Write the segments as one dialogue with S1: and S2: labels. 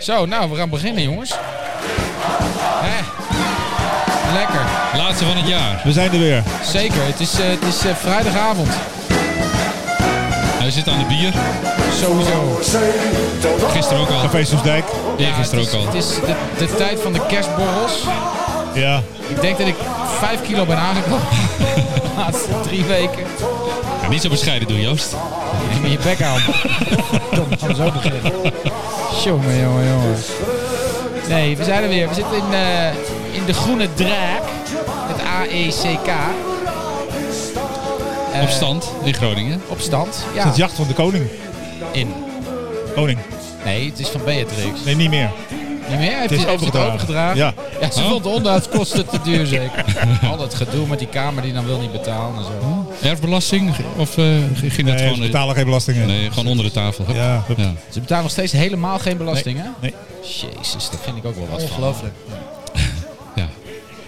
S1: Zo, nou, we gaan beginnen, jongens. Hè? Lekker.
S2: Laatste van het jaar.
S3: We zijn er weer.
S1: Zeker. Het is, eh, het is eh, vrijdagavond.
S2: Hij zit aan de bier.
S1: Sowieso.
S2: Gisteren ook al.
S3: Café Soesdijk.
S2: Eergisteren ook
S1: het is,
S2: al.
S1: Het is de, de tijd van de kerstborrels.
S3: Ja.
S1: Ik denk dat ik 5 kilo ben aangekomen. De laatste drie weken.
S2: Ja, niet zo bescheiden doen, Joost.
S1: Neem je bek aan. Tom, gaan we zo beginnen. Jongen, jongen, jongen. Nee, we zijn er weer. We zitten in, eh, in de Groene Draak. Het E AECK. Eh,
S2: Op stand in Groningen.
S1: Op stand.
S3: Het
S1: Eh, Ja.
S3: is het jacht van de koning.
S1: In.
S3: Koning.
S1: Nee, het is van Beatrix.
S3: Nee, niet meer.
S1: Niet meer? Heeft
S3: Het is
S1: hij- heeft hij het
S3: overgedragen.
S1: overgedragen?
S3: Ja.
S1: ze
S2: Oh.
S1: vond de onderhoudskosten te duur zeker. Al dat gedoe met die kamer die dan wil niet betalen en zo.
S2: Erfbelasting? Of eh, ging dat
S3: Nee, ze
S2: gewoon... eh,
S3: betalen geen belastingen.
S2: Nee, gewoon onder de tafel. Hup.
S3: Ja, hup.
S2: Ja.
S1: Ze betalen nog steeds helemaal geen belasting, hè?
S3: Nee.
S1: Jezus, daar vind ik ook wel wat van.
S4: Ongelooflijk.
S2: ja.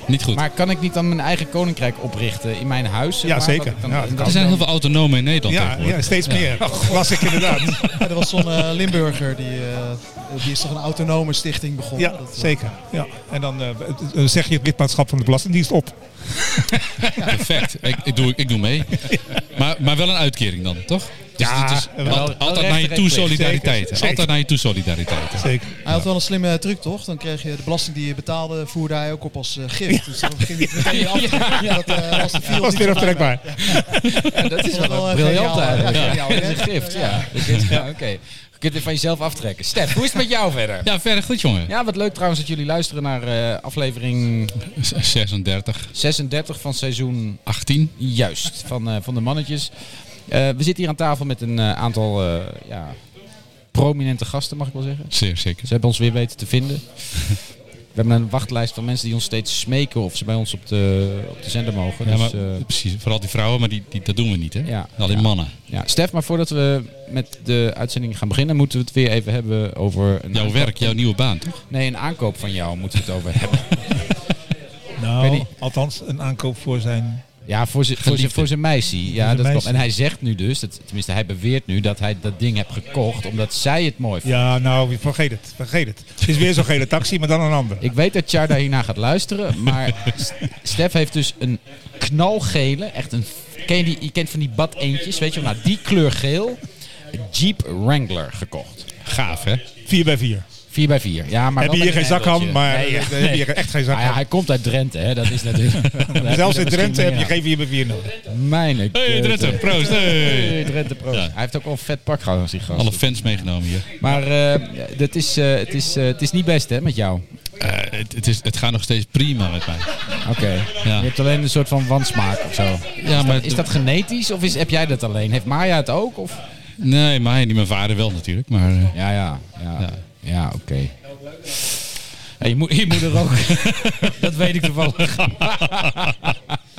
S2: Niet goed.
S1: Maar kan ik niet dan mijn eigen koninkrijk oprichten in mijn huis? zeg
S3: Ja,
S1: maar,
S3: zeker.
S1: dat ik dan-
S3: Ja,
S1: dat
S3: dat
S1: ik
S2: er zijn
S1: dan-
S2: heel veel autonomen in Nederland
S3: Ja,
S2: tegenwoordig.
S3: ja, steeds meer.
S1: Oh,
S3: Was ik inderdaad.
S4: Ja, er was zo'n eh, Limburger, die, eh, die is toch een autonome stichting begonnen.
S3: Ja,
S4: Dat, eh,
S3: zeker. Ja. En dan eh, het- eh, zeg je het lidmaatschap van de Belastingdienst op.
S2: Perfect. Ik, ik, doe, ik doe mee. Maar, maar wel een uitkering dan, toch? Dus
S3: Ja,
S2: het is
S3: wel-
S2: al-
S3: wel
S2: altijd
S1: recht
S2: naar je
S1: en
S2: toe
S1: plicht.
S2: solidariteit.
S3: Zeker, zeker.
S2: Altijd naar je toe solidariteit.
S3: Zeker.
S4: Hij had wel een slimme truc, toch? Dan kreeg je de belasting die je betaalde, voerde hij ook op als eh, gift. Dus dan ging hij meteen af. Dat eh, was de
S3: Dat
S4: field
S3: was
S4: niet
S3: weer
S4: zo blij mee.
S3: aftrekbaar.
S1: Ja, dat is
S4: Dat is
S1: wel
S4: wel
S1: een
S4: een
S1: briljant
S4: geniaal,
S1: eigenlijk.
S4: ja,
S1: Ja,
S4: geniaal,
S1: dat is
S4: hè?
S1: een gift, ja. Dat is- ja, Oké, je kunt het van jezelf aftrekken. Stef, hoe is het met jou verder?
S2: Ja, verder goed, jongen.
S1: Ja, wat leuk trouwens dat jullie luisteren naar eh, aflevering
S2: 36,
S1: 36 van seizoen
S2: 18.
S1: Juist, van, eh, van de mannetjes. Eh, we zitten hier aan tafel met een eh, aantal eh, ja, prominente gasten, mag ik wel zeggen.
S2: Zeer zeker.
S3: Dus,
S1: Ze hebben ons weer weten te vinden. We hebben een wachtlijst van mensen die ons steeds smeken of ze bij ons op de, op de zender mogen.
S2: Ja,
S1: Dus,
S2: maar,
S1: eh,
S2: precies. Vooral die vrouwen, maar die, die, dat doen we niet, hè?
S1: Ja.
S2: Alleen
S1: Ja.
S2: mannen.
S1: ja. Stef, maar voordat we met de uitzending gaan beginnen, moeten we het weer even hebben over... Een
S2: Jouw
S1: aankoop-
S2: werk, jouw nieuwe baan, toch?
S1: Nee, een aankoop van jou moeten we het over hebben. Ik weet
S3: Nou,
S1: niet.
S3: althans een aankoop voor zijn...
S1: Ja, voor zijn voor zijn- voor zijn meisje. Ja,
S3: zijn
S1: dat klopt.
S3: meisje.
S1: En hij zegt nu dus, dat, tenminste hij beweert nu, dat hij dat ding heeft gekocht omdat zij het mooi vond.
S3: Ja, nou, vergeet het. Vergeet het. Het is weer zo'n gele taxi, maar dan een ander.
S1: Ik weet dat Tjarda hierna gaat luisteren, maar S- Stef heeft dus een knalgele, echt een... Ken je, die, je kent van die bad eentjes, weet je wel? Nou, die kleur geel, Jeep Wrangler gekocht.
S2: Gaaf, hè?
S3: 4 bij 4
S1: 4 bij 4 Ja, maar
S3: Heb
S1: wel
S3: je hier
S1: met
S3: geen
S1: een hendeltje.
S3: zakham, maar
S1: Nee, ja.
S3: eh, heb je hier echt geen
S1: Ah ja,
S3: zakham.
S1: hij komt uit Drenthe, hè? dat is natuurlijk... Dan heb je
S3: Zelfs
S1: er
S3: in Drenthe heb
S1: misschien
S3: je
S1: meer
S3: geen 4 bij 4 nodig.
S1: aan. Mijne
S2: Hey,
S1: keuze.
S2: Drenthe, proost.
S1: Hey,
S2: Hey.
S1: Drenthe Pro.
S2: Ja.
S1: Hij heeft ook al een vet pak gehad als die gast.
S2: Alle fans meegenomen hier.
S1: Maar eh, dat is, eh, het, is, eh, het is niet best hè, met jou.
S2: Eh, het, het, is, het gaat nog steeds prima met mij.
S1: Oké.
S2: Ja.
S1: Je hebt alleen een soort van wansmaak of zo.
S2: Ja, maar
S1: Is dat genetisch of is, heb jij dat alleen? Heeft Maya het ook? Of?
S2: Nee, maar niet mijn vader wel natuurlijk. Maar eh,
S1: Ja, ja. Ja, ja.
S2: Ja.
S1: oké. Ja, je, moe- je moeder ook. dat weet ik toevallig.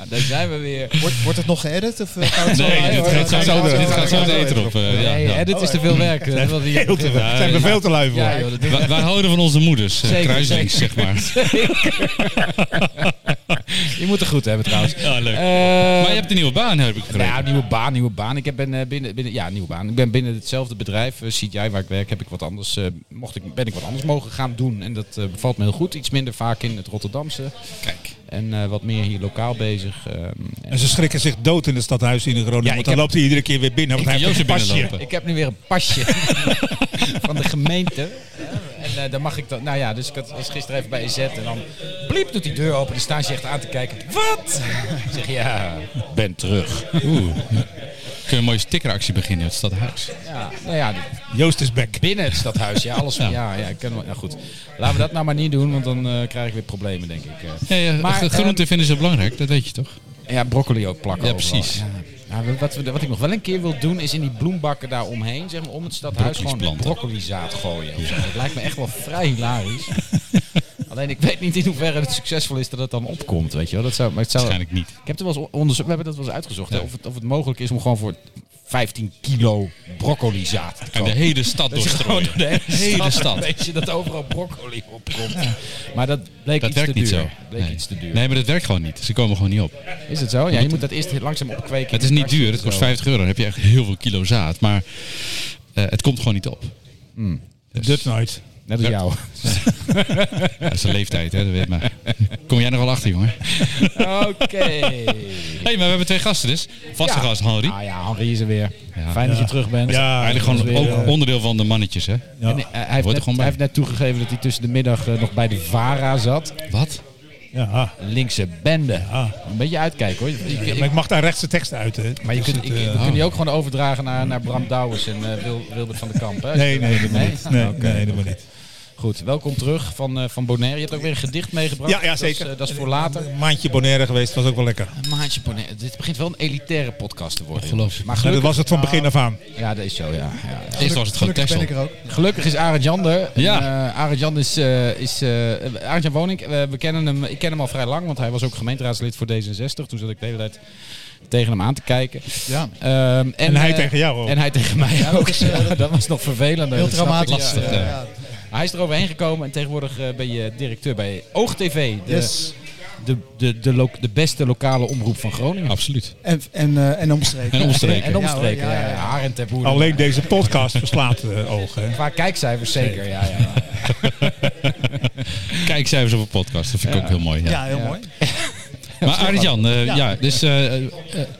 S1: Daar zijn we weer.
S4: Wordt, wordt het nog geëdit? Of eh, gaat het zo
S2: nee,
S4: bij,
S2: dit
S4: hoor?
S2: gaat zo
S4: Nee,
S2: de,
S4: het
S2: dit gaat zo de
S4: door.
S2: eter op. eh, ja,
S1: nee,
S2: ja.
S1: hè, dit is te veel werk. eh, Dat wilde je
S3: Heel te
S1: beginnen.
S3: veel. Zijn we veel te lui voor.
S1: Ja, joh, dat
S2: Wij, wij houden van onze moeders, eh,
S1: Zeker,
S2: kruisings, zeg maar.
S1: je moet het goed hebben trouwens.
S2: Ja, leuk.
S1: Eh,
S2: maar je hebt een nieuwe baan, heb ik
S1: Nou,
S2: begrepen.
S1: ja, nieuwe baan, nieuwe baan. Ik heb ben, eh, binnen, binnen, ja, nieuwe baan. Ik ben binnen hetzelfde bedrijf, eh, CGI, waar ik werk, heb ik wat anders, eh, mocht ik, ben ik wat anders mogen gaan doen. En dat eh, bevalt me heel goed. Iets minder vaak in het Rotterdamse.
S2: Kijk.
S1: En eh, wat meer hier lokaal bezig. ehm, en-
S3: En ze schrikken zich dood in het stadhuis in de Groningen.
S1: Ja,
S3: want
S1: ik
S3: dan
S1: heb-
S3: loopt hij iedere keer weer binnen. Want hij
S2: Ik
S3: heeft
S2: zie
S3: een
S2: Jozef
S3: pasje.
S2: binnenlopen.
S1: ik heb nu weer een pasje van de gemeente. En eh daar mag ik dan. Nou ja, dus ik had, was gisteren even bij EZ en dan bliep doet die deur open. Dan staan ze echt aan te kijken. Wat? Ik zeg ja, ben terug.
S2: Oeh. Kun je een mooie stickeractie beginnen in het stadhuis?
S1: Ja, nou ja,
S3: Joost is back.
S1: binnen het stadhuis. Ja, alles. Ja, ja, ik ken wel. Nou goed, laten we dat nou maar niet doen, want dan eh, krijg ik weer problemen, denk ik. eh.
S2: Nee, eh,
S1: Maar,
S2: gro- groenten vinden ze belangrijk, dat weet je toch?
S1: ja, broccoli ook plakken.
S2: Ja,
S1: overal.
S2: precies.
S1: Ja. Ja, wat, we- wat ik nog wel een keer wil doen, is in die bloembakken daar omheen, zeg maar, om het stadhuis
S2: Broccoli's
S1: gewoon
S2: planten.
S1: broccolizaad gooien. of zo. Dat lijkt me echt wel vrij hilarisch. Alleen ik weet niet in hoeverre het succesvol is dat het dan opkomt, weet je wel. Dat zou, maar het zou,
S2: Waarschijnlijk niet.
S1: ik heb er wel eens onderzoek, we hebben dat wel eens uitgezocht, hè,
S2: Ja.
S1: of, het, of het mogelijk is om gewoon voor 15 kilo broccolizaad te
S2: En de
S1: kopen.
S2: hele stad
S1: Dat je gewoon
S2: doorstrooien.
S1: door de hele
S2: Hele
S1: stad.
S2: stad.
S1: Weet je dat overal broccoli opkomt. Maar dat bleek
S2: Dat
S1: iets
S2: werkt
S1: te
S2: niet
S1: duur.
S2: zo.
S1: Bleek
S2: Nee.
S1: iets te duur.
S2: nee, maar dat werkt gewoon niet. Ze komen gewoon niet op.
S1: Is het zo? Ja, je moet dat eerst langzaam opkweken. in
S2: Het is
S1: een
S2: niet
S1: kastje
S2: duur,
S1: of
S2: het kost
S1: zo.
S2: 50 euro. Dan heb je echt heel veel kilo zaad. Maar eh, het komt gewoon niet op. Dus-
S3: Dut nooit.
S1: Net als
S2: Ja.
S1: jou.
S2: Dat is de leeftijd, hè? Dat weet maar. Kom jij nog wel achter, jongen?
S1: Oké.
S2: Hé, hey, maar we hebben twee gasten dus. Vaste
S1: Ja.
S2: gast, Henri.
S1: Ah ja, Henri is er weer.
S2: Ja.
S1: Fijn dat je terug bent.
S3: Ja,
S2: Eigenlijk gewoon
S1: dat is weer,
S2: ook
S1: eh,
S2: onderdeel van de mannetjes, hè?
S1: En, eh, hij, heeft
S2: er
S1: net,
S2: gewoon bij.
S1: hij heeft net toegegeven dat hij tussen de middag eh, nog bij de VARA zat.
S2: Wat?
S3: ja.
S1: Linkse bende.
S3: Ah. Ja.
S1: Een beetje uitkijken hoor. Ik- ik-
S3: Maar ik mag daar rechtse teksten uit, hè?
S1: maar je
S3: Dus
S1: kunt, ik,
S3: het, eh,
S1: we kunnen die ook gewoon overdragen naar, naar Bram Douwens en eh, Wil, Wilbert van de Kamp. Hè?
S3: Nee, nee, dat moet
S1: Nee?
S3: niet. Nee,
S1: Oké,
S3: nee, dat moet niet.
S1: Goed, welkom terug van, eh, van Bonaire. Je hebt ook weer een gedicht meegebracht.
S3: Ja,
S1: Dat
S3: ja,
S1: is,
S3: zeker.
S1: eh, Dat is voor later.
S3: Een maandje Bonaire geweest, was ook wel lekker.
S1: Een maandje Bonaire. Dit begint wel een elitaire podcast te worden.
S2: Ongelooflijk.
S1: Maar
S3: Ja, dat
S1: gelukkig,
S3: was het van begin af aan.
S1: ja, dat is zo, ja. ja, ja.
S2: Eerst was het gewoon
S4: Gelukkig ben
S2: Texel.
S4: ik er ook.
S1: Gelukkig is Arend Jan er.
S2: Ja.
S1: En, eh, Arend Jan is... eh, is eh, Arend Jan Woning, eh, we kennen hem, ik ken hem al vrij lang, want hij was ook gemeenteraadslid voor D66. Toen zat ik de hele tijd tegen hem aan te kijken.
S4: Ja.
S1: Ehm, en,
S3: En hij
S1: eh,
S3: tegen jou ook.
S1: En hij tegen mij ook. Ja, dat eh, was nog vervelender.
S4: Heel
S1: dat snap ik.
S4: traumatisch. eh,
S1: Ja, ja.
S2: Lastig, ja.
S1: Hij is er overheen gekomen en tegenwoordig eh, ben je directeur bij OogTV. De,
S4: Yes.
S1: de, de, de, lo- de beste lokale omroep van Groningen.
S2: Absoluut.
S4: En, en, eh, en omstreken.
S2: En omstreken.
S1: En omstreken,
S4: Ja,
S1: ja.
S4: hoor, ja,
S1: ja,
S4: ja, ja.
S1: Arend ter Boer.
S3: Alleen deze podcast verslaat eh ogen. hè.
S1: Qua kijkcijfers zeker, ja. ja.
S2: Kijkcijfers op een podcast, dat vind ik ook heel mooi. Ja.
S4: Ja, heel mooi.
S2: Maar Arjan, eh, ja.
S4: Ja.
S2: dus eh, eh,
S4: Heel,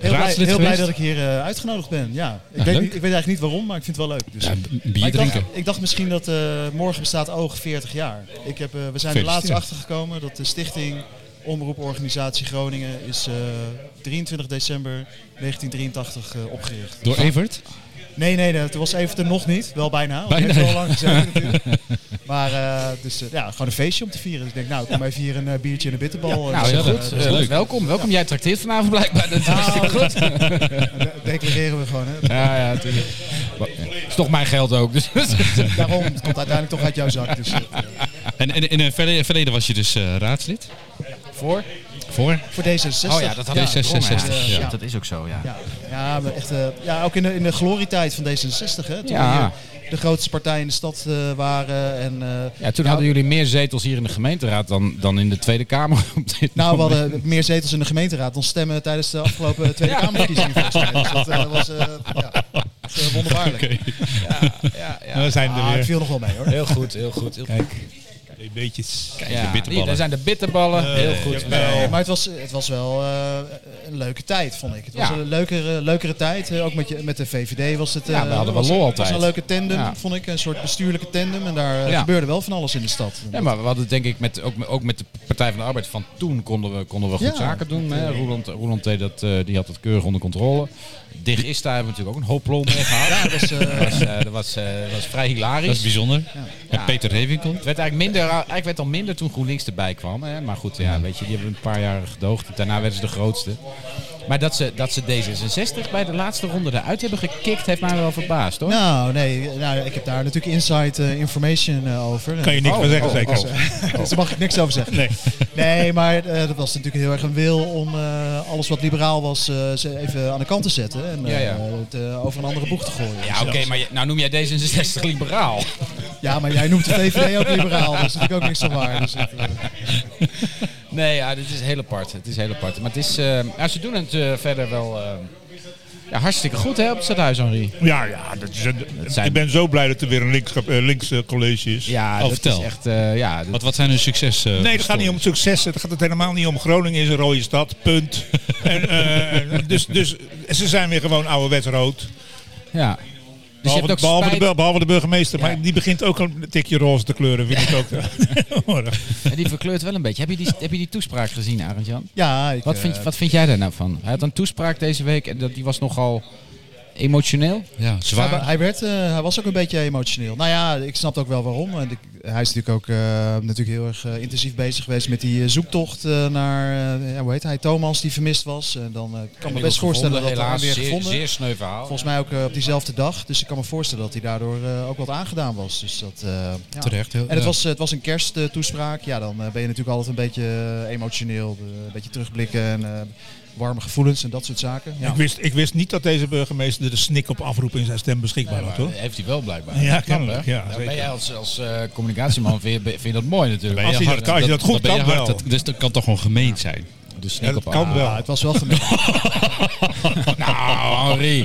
S4: blij,
S2: raadslid
S4: heel blij
S2: geweest.
S4: dat ik hier eh, uitgenodigd ben. Ja. Ik,
S2: Ja,
S4: weet,
S2: leuk.
S4: niet- ik weet eigenlijk niet waarom, maar ik vind het wel leuk. Dus.
S2: Ja, b- bier
S4: Maar ik, dacht,
S2: drinken.
S4: ik dacht misschien dat eh, morgen bestaat Oog 40 jaar. Ik heb, eh, we zijn er laatst
S2: Gefeliciteerd.
S4: achtergekomen dat de stichting Omroeporganisatie Groningen is eh, 23 december 1983 eh, opgericht.
S2: Door Evert?
S4: Nee, nee, nee, toen was even er nog niet. Wel bijna. want
S2: Bijna.
S4: Het heeft wel lang gezeten natuurlijk. Maar eh, dus, eh, ja, gewoon een feestje om te vieren. Dus ik denk, nou, kom even hier een eh, biertje en een bitterbal. eh,
S1: Nou, heel
S4: gezellig,
S1: goed.
S4: eh,
S1: Eh,
S2: leuk.
S1: Welkom, welkom. Jij trakteert vanavond blijkbaar. Dat is hartstikke goed.
S4: de- declareren we gewoon. Hè.
S1: Ja, ja, natuurlijk. is toch mijn geld ook. Dus.
S4: Daarom, het komt uiteindelijk toch uit jouw zak. Dus, eh,
S2: En en- en in het verleden, verleden was je dus eh, raadslid.
S1: Voor?
S2: Voor?
S4: voor D66.
S1: Oh ja, dat had ik
S2: D66,
S1: verzonnen,
S4: ja.
S1: Dat is ook zo, ja.
S4: Ja, ja, maar echt, eh, ja ook in de, in de glorietijd van D66. Hè, toen
S1: Ja.
S4: we hier de grootste partij in de stad eh, waren. En, eh,
S1: Ja, toen hadden jullie meer zetels hier in de gemeenteraad dan, dan in de Tweede Kamer. Op dit
S4: Nou, we
S1: moment.
S4: hadden meer zetels in de gemeenteraad dan stemmen tijdens de afgelopen Tweede Kamerverkiezingen. volgens mij. Dus dat eh, was eh, ja, dat is, eh, wonderbaarlijk.
S1: Ja, ja.
S3: Nou, we zijn
S4: Ah,
S3: er
S4: het
S3: weer.
S4: viel nog wel mee hoor.
S1: Heel goed, heel goed. Heel
S3: Kijk, twee beetjes.
S1: Kijk,
S2: de bitterballen.
S1: Hier, daar zijn de Eh, bitterballen. heel goed.
S3: Jawel.
S4: Nee, maar het was, het was wel eh, een leuke tijd, vond ik. Het was
S1: Ja.
S4: een leukere, leukere tijd. eh, Ook met, je, met de VVD was het. eh,
S1: Ja, we hadden wel
S4: was,
S1: lol
S4: het was
S1: altijd.
S4: een leuke tandem,
S1: Ja.
S4: vond ik. Een soort bestuurlijke tandem. En daar eh,
S1: Ja.
S4: gebeurde wel van alles in de stad.
S1: Ja, maar we hadden denk ik met, ook, met- ook met de Partij van de Arbeid van toen konden we, konden we goed
S4: Ja.
S1: zaken doen. Hè. Roeland, Roeland deed dat, eh, die had het keurig onder controle. Dig is daar hebben we natuurlijk ook een hoop lol mee gehad.
S4: Ja, dat was, eh,
S1: Dat was, eh, dat was, eh, dat was vrij hilarisch.
S2: Dat is bijzonder.
S1: Ja.
S2: En Peter Rewinkel.
S1: Het werd eigenlijk minder, eigenlijk werd al minder toen GroenLinks erbij kwam. Hè? Maar goed, ja, weet je, die hebben een paar jaar gedoogd. Daarna werden ze de grootste. Maar dat ze, dat ze D66 bij de laatste ronde eruit hebben gekikt, heeft mij wel verbaasd hoor.
S4: Nou, nee, nou, ik heb daar natuurlijk inside eh, information eh, over.
S3: Kan je niks
S1: Oh,
S3: meer zeggen,
S1: oh,
S3: zeker.
S1: oh.
S4: Dus daar mag ik niks over zeggen.
S3: Nee.
S4: Nee, maar eh, dat was natuurlijk heel erg een wil om eh, alles wat liberaal was eh, ze even aan de kant te zetten. En eh,
S1: Ja, ja.
S4: het eh, over een andere boeg te gooien.
S1: Ja, oké, maar je- nou noem jij D66 liberaal.
S4: Ja, maar jij noemt de VVD ook liberaal. dus Dat is natuurlijk ook niks van waar. Dus het, eh,
S1: Nee, ja, dit is heel apart. Het is heel apart. Maar het is, eh, ja, ze doen het eh, verder wel eh, ja, hartstikke goed hè, op het stadhuis, Henri.
S3: Ja, ja. Dat is een-
S1: zijn-
S3: Ik ben zo blij dat er weer een links, eh, links eh, college is.
S1: Ja,
S2: Oh,
S1: dat
S2: vertel.
S1: is echt... eh, ja, dat-
S2: Wat, wat zijn hun succes? eh,
S3: Nee, het gaat niet om succes. Het gaat het helemaal niet om. Groningen is een rode stad. Punt. en, eh, dus, dus ze zijn weer gewoon ouderwets rood.
S1: ja. Dus je
S3: behalve,
S1: hebt ook
S3: behalve de,
S1: spijt,
S3: bur- behalve de burgemeester.
S1: Ja.
S3: Maar die begint ook een tikje roze te kleuren, vind ik ook.
S1: en die verkleurt wel een beetje. Heb je die, heb je die toespraak gezien, Arend-Jan?
S4: ja, ik,
S1: Wat
S4: eh,
S1: vind, wat vind jij daar nou van? Hij had een toespraak deze week en dat, die was nogal emotioneel.
S2: Ja,
S4: Hij,
S2: zwaar.
S4: hij werd, eh, hij was ook een beetje emotioneel. Nou ja, ik snap ook wel waarom. En ik- hij is natuurlijk ook eh, natuurlijk heel erg eh, intensief bezig geweest met die eh, zoektocht eh, naar, eh, ja, hoe heet hij, Thomas, die vermist was. En dan eh, ik kan me best voorstellen dat hij hem weer gevonden.
S1: sneu verhaal.
S4: Volgens mij ook eh, op diezelfde dag. Dus ik kan me voorstellen dat hij daardoor eh, ook wat aangedaan was. Dus dat, eh, ja.
S2: Terecht. Heel,
S4: En het
S2: ja.
S4: was, eh, het was een kersttoespraak. Ja, dan eh, ben je natuurlijk altijd een beetje eh, emotioneel. eh, een beetje terugblikken en eh, warme gevoelens en dat soort zaken. Ja.
S3: ik, wist, ik wist niet dat deze burgemeester de snik op afroep in zijn stem beschikbaar had, hoor.
S1: heeft hij wel blijkbaar.
S3: Ja,
S1: Knap, hè?
S3: kennelijk, ja,
S1: Nou,
S3: zeker.
S1: ben jij als, als eh, communicatieman vind je, vind je dat mooi natuurlijk.
S2: Ben je
S3: Als hij dat
S2: hard,
S3: kan- als je dat goed
S2: dan ben je
S3: kan
S2: hard.
S3: wel.
S2: Dat- Dus dat kan toch gewoon gemeen zijn?
S1: Dus
S3: Ja, dat kan wel.
S4: Ah, het was wel gemeen.
S1: Nou, Henri.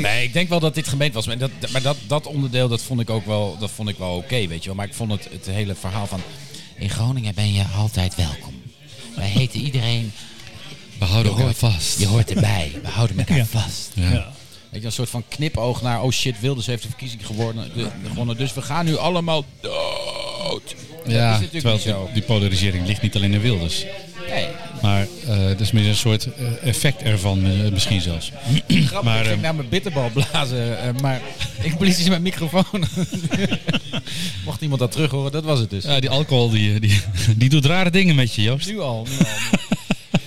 S1: Nee, ik denk wel dat dit gemeend was. Maar dat, maar dat, dat onderdeel, dat vond ik ook wel, dat vond ik wel oké, weet je wel. Maar ik vond het, het hele verhaal van... In Groningen ben je altijd welkom. Wij heten iedereen...
S2: We houden elkaar
S1: hoort-
S2: vast.
S1: Je hoort erbij. We houden elkaar vast.
S2: Ja.
S5: Ja.
S1: Weet je, een soort van knipoog naar... Oh shit, Wilders heeft de verkiezing geworden, de- gewonnen. Dus we gaan nu allemaal dood.
S2: Ja,
S1: dat is natuurlijk
S2: terwijl
S1: niet zo.
S2: die, die polarisering ligt niet alleen in Wilders.
S1: Nee,
S2: Maar eh het is meer een soort eh, effect ervan eh, misschien zelfs.
S1: grappig.
S2: Maar,
S1: ik ging
S2: ehm,
S1: naar mijn bitterbal blazen. eh, maar ik blies dus mijn microfoon. Mocht iemand dat terug horen, dat was het dus.
S2: eh, Ja, die alcohol die, die, die doet rare dingen met je, Joost.
S1: Nu al, nu al.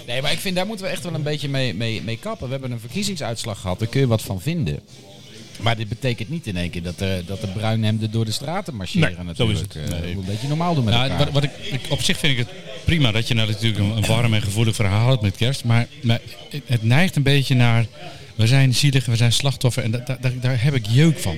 S1: Nee, maar ik vind daar moeten we echt wel een beetje mee, mee, mee kappen. We hebben een verkiezingsuitslag gehad, daar kun je wat van vinden. Maar dit betekent niet in één keer dat de, dat de bruinhemden door de straten marcheren
S3: Nee, Nou, zo is
S1: natuurlijk.
S3: het.
S1: Eh, we moeten Een beetje normaal doen met
S2: Ja,
S1: elkaar.
S2: wat, wat ik, ik- op zich vind ik het prima dat je nou natuurlijk een, een warm en gevoelig verhaal hebt met kerst. Maar, maar het- het neigt een beetje naar, we zijn zielig, en we zijn slachtoffer. En da- da- daar- daar heb ik jeuk van.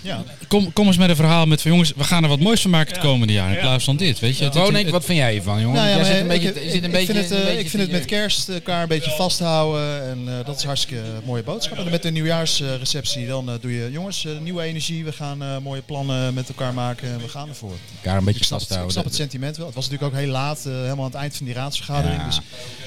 S4: Ja.
S2: Kom, kom eens met een verhaal met van jongens, we gaan er wat moois van maken het komende jaar. In plaats van dit, weet je. Het- het-
S1: Ronink,
S2: het-
S1: Oh, wat vind jij hiervan, jongen?
S4: Nou ja,
S1: jij
S4: maar
S1: zit een
S4: ik-
S1: beetje...
S4: ik-
S1: zit een
S4: ik
S1: beetje
S4: vind het, eh,
S1: een beetje
S4: ik vind het
S1: te-
S4: met kerst eh, elkaar een beetje vasthouden. En eh, dat is hartstikke mooie boodschap. En met de nieuwjaarsreceptie dan eh, doe je... Jongens, eh, nieuwe energie. We gaan eh, mooie plannen met elkaar maken. En we gaan ervoor.
S1: elkaar een beetje
S4: Ik snap, het, ik
S1: vasthouden.
S4: snap het sentiment wel. Het was natuurlijk ook heel laat. eh, helemaal aan het eind van die raadsvergadering.
S1: Ja.
S4: Dus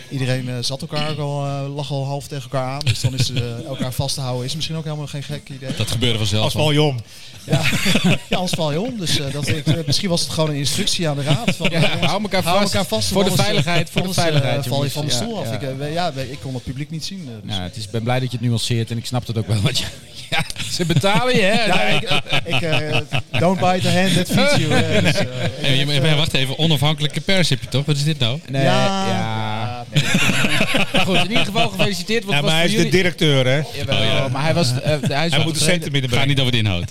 S4: iedereen eh, zat elkaar ook al, eh, lag al half tegen elkaar aan. Dus dan is eh, elkaar vasthouden is misschien ook helemaal geen gek idee.
S2: dat gebeurde vanzelf.
S3: Als
S2: al.
S3: val je om.
S4: Ja, ja anders val je om. Dus eh, dat, ik, eh, misschien was het gewoon een instructie aan de raad. Van,
S1: Ja,
S4: eh, jongens,
S1: hou elkaar vast.
S4: want
S1: Voor de
S4: anders, eh,
S1: veiligheid, voor de
S4: anders, eh,
S1: veiligheid,
S4: val je van de
S1: jongens.
S4: stoel
S1: Ja,
S4: af.
S1: ja.
S4: Ik, eh, we- ja, we- ik kon het publiek niet zien. eh, dus.
S1: Ja, het is, ik ben blij dat je het nuanceert en ik snap het ook wel. Want je- ja, ze betalen je, hè?
S4: Ja, ik, ik, eh, don't bite the hand that feeds you. eh, dus, eh, ik
S2: En je-
S4: heb, eh,
S2: maar wacht even, onafhankelijke pers heb je toch? Wat is dit nou?
S1: Nee,
S4: ja,
S1: ja.
S4: ja, nee.
S1: Maar goed, in ieder geval gefeliciteerd. Want
S3: Ja,
S1: het was
S3: maar hij is
S1: voor
S3: de
S1: jullie...
S3: directeur, hè?
S1: Jawel, maar hij was... eh, hij is
S3: Hij
S1: wel
S3: moet de
S1: tevreden.
S3: centen
S2: Het gaat
S3: binnenbrengen.
S2: niet over de inhoud.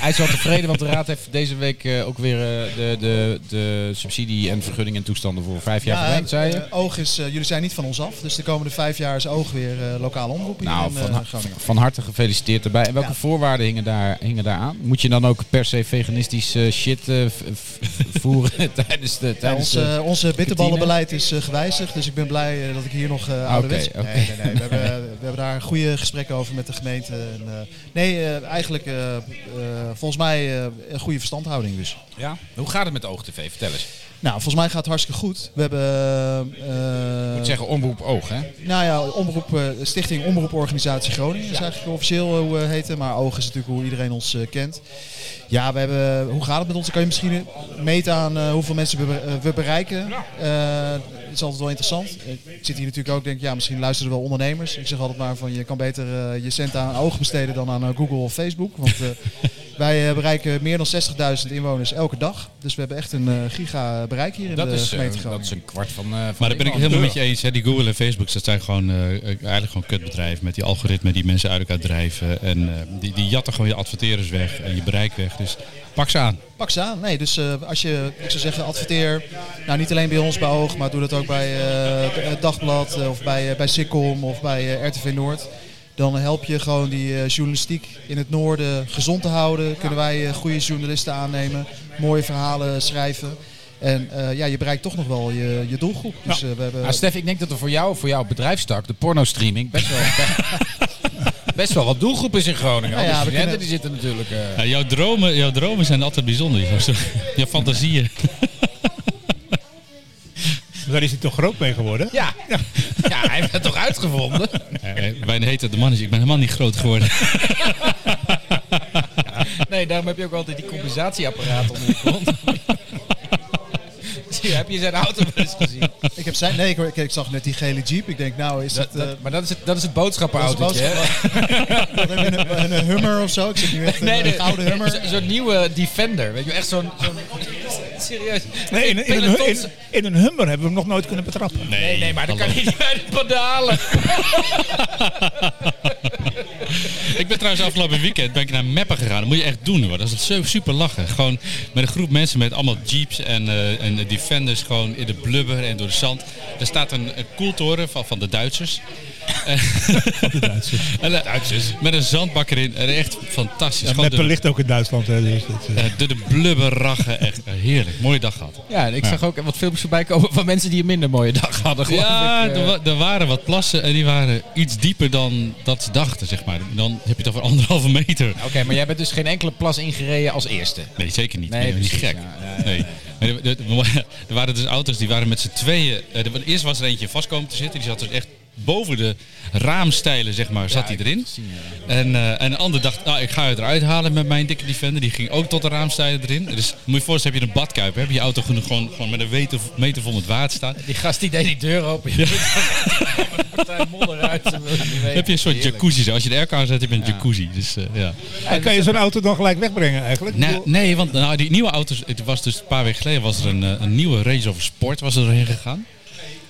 S1: Hij is wel tevreden, want de Raad heeft deze week eh, ook weer eh, de, de, de subsidie en vergunning en toestanden voor vijf jaar
S4: Ja,
S1: verlengd, zei je?
S4: eh, oog is, eh, jullie zijn niet van ons af, dus de komende vijf jaar is oog weer eh, lokale omroep hier
S1: Nou,
S4: in eh,
S1: van, ha-
S4: Groningen.
S1: van harte gefeliciteerd erbij. En welke
S4: Ja.
S1: voorwaarden hingen daar, hingen daar aan? Moet je dan ook per se veganistisch eh, shit eh, v- v- voeren tijdens de...
S4: Ja,
S1: Tijdens
S4: ons,
S1: de-
S4: eh, onze bitterballenbeleid is eh, gewijzigd, dus ik ben blij eh, dat ik hier nog eh oude
S1: oké.
S4: Nee, nee, nee. We, hebben, eh, we hebben daar goede gesprekken over met de gemeente. En, eh, nee, eh, eigenlijk eh, eh, volgens mij eh, een goede verstandhouding dus.
S1: ja? Hoe gaat het met OogTV? Vertel eens.
S4: Nou, volgens mij gaat het hartstikke goed. We hebben... eh,
S1: Ik moet zeggen omroep oog, hè?
S4: Nou ja, omroep, eh, Stichting Omroeporganisatie Groningen is eigenlijk officieel eh, hoe we heten. Maar oog is natuurlijk hoe iedereen ons eh, kent. Ja, we hebben, hoe gaat het met ons? Dan kan je misschien meten aan eh, hoeveel mensen we, be- eh, we bereiken. Eh, Het is altijd wel interessant. Eh, Ik zit hier natuurlijk ook, denk ja, misschien luisteren er wel ondernemers. Ik zeg altijd maar van je kan beter eh, je cent aan oog besteden dan aan eh, Google of Facebook. Want eh, wij eh, bereiken meer dan 60.000 inwoners elke dag. Dus we hebben echt een eh, giga bereik hier in
S1: Dat
S4: de
S1: is, eh,
S4: gemeente Groningen.
S1: dat is een kwart van... eh, van
S2: Maar daar ben ik
S1: Nederland.
S2: helemaal met je eens. Hè. Die Google en Facebook, dat zijn gewoon eh, eigenlijk gewoon kutbedrijven met die algoritmen die mensen uit elkaar drijven. En eh, die, die jatten gewoon je adverteerders weg en je bereik weg. Dus pak ze aan.
S4: Pak ze aan. Nee, dus eh, als je, ik zou zeggen, adverteer. Nou, niet alleen bij ons bij Oog, maar doe dat ook bij eh, het het Dagblad eh, of bij, eh, bij Sikkom of bij eh, RTV Noord. Dan help je gewoon die eh, journalistiek in het noorden gezond te houden. Kunnen wij eh, goede journalisten aannemen, mooie verhalen schrijven. En eh, ja, je bereikt toch nog wel je, je doelgroep. Dus eh, we hebben...
S1: Nou, Stef, ik denk dat er voor jou, voor jouw bedrijfstak, de porno-streaming, best wel, best wel wat doelgroep is in Groningen.
S4: Nou
S1: Al
S4: ja,
S1: die
S4: we
S1: studenten
S4: kunnen-
S1: die zitten natuurlijk... eh,
S2: Ja, jouw, dromen, jouw dromen zijn altijd bijzonder. Joost. Jouw fantasieën.
S3: Maar Daar is hij toch groot mee geworden?
S1: ja. ja, hij heeft het toch uitgevonden?
S2: Eh, Wij heten de mannetje. Ik ben helemaal niet groot geworden.
S1: Nee, daarom heb je ook altijd die compensatieapparaat onder je kont. Zie je, heb je zijn auto wel eens gezien?
S4: Ik, heb zijn... nee, ik, hoor- ik, ik zag net die gele jeep. Ik denk, nou is
S1: Dat,
S4: het... eh,
S1: dat- maar dat is het, dat is het
S4: dat is
S1: boodschappenautootje, hè?
S4: boodschap. We hebben een, een Hummer of zo. Ik zit nu echt een, een
S1: de-
S4: gouden Hummer.
S1: zo- Zo'n nieuwe Defender. Weet je, wel, echt zo'n... zo'n- serieus.
S3: Nee, in, in, een,
S1: Pelotons-
S3: in, in een Hummer hebben we hem nog nooit kunnen betrappen.
S1: Nee, nee, maar dan kan je niet bij de pedalen.
S2: Ik ben trouwens afgelopen weekend ben ik naar Meppen gegaan. Dat moet je echt doen hoor. Dat is zo super lachen. Gewoon met een groep mensen met allemaal jeeps en, eh, en defenders gewoon in de blubber en door de zand. Er staat een, een koeltoren van, van de Duitsers. En, eh, Met een zandbak erin. En echt fantastisch.
S3: En
S2: Gewoon
S3: Meppen
S2: de,
S3: ligt ook in Duitsland. Hè, dus dat, eh.
S2: eh, de, de blubberrachen. Echt eh, heerlijk. Mooie dag gehad.
S1: Ja, en ik zag ook wat filmpjes voorbij komen van mensen die een minder mooie dag hadden. geloof
S2: Ja,
S1: ik. Eh,
S2: er, wa- er waren wat plassen en die waren iets dieper dan dat ze dachten, zeg maar. Dan heb je het over anderhalve meter.
S1: Oké, maar jij bent dus geen enkele plas ingereden als eerste.
S2: Nee, zeker niet.
S1: Nee,
S2: Nee, dat is niet
S1: precies,
S2: gek.
S1: ja, ja, ja,
S2: nee. Nee, er- er- Er waren dus auto's die waren met z'n tweeën. eh, er- Eerst was er eentje vast komen te zitten. Die zat dus echt boven de raamstijlen, zeg maar, zat hij
S1: ik
S2: erin.
S1: heb het gezien,
S2: En, eh, en een ander dacht, nou, ik ga het eruit halen met mijn dikke defender. Die ging ook tot de raamstijlen erin. Dus moet je je voorstellen, heb je een badkuip. Heb je je auto gewoon, gewoon, gewoon met een meter, meter vol met water staan.
S1: Die gast die deed die deur open. Je een partij modder uit. ze wilden niet weten.
S2: Dan heb je een soort
S1: Heerlijk.
S2: jacuzzi. zo. Als je de airco aanzet, heb je een jacuzzi. Dus, eh, ja.
S3: En kan je zo'n auto dan gelijk wegbrengen eigenlijk?
S2: Nou,
S3: Ik bedoel,
S2: nee, want nou, die nieuwe auto's, het was dus een paar weken geleden was er een, eh, een nieuwe Range Rover Sport was er doorheen gegaan.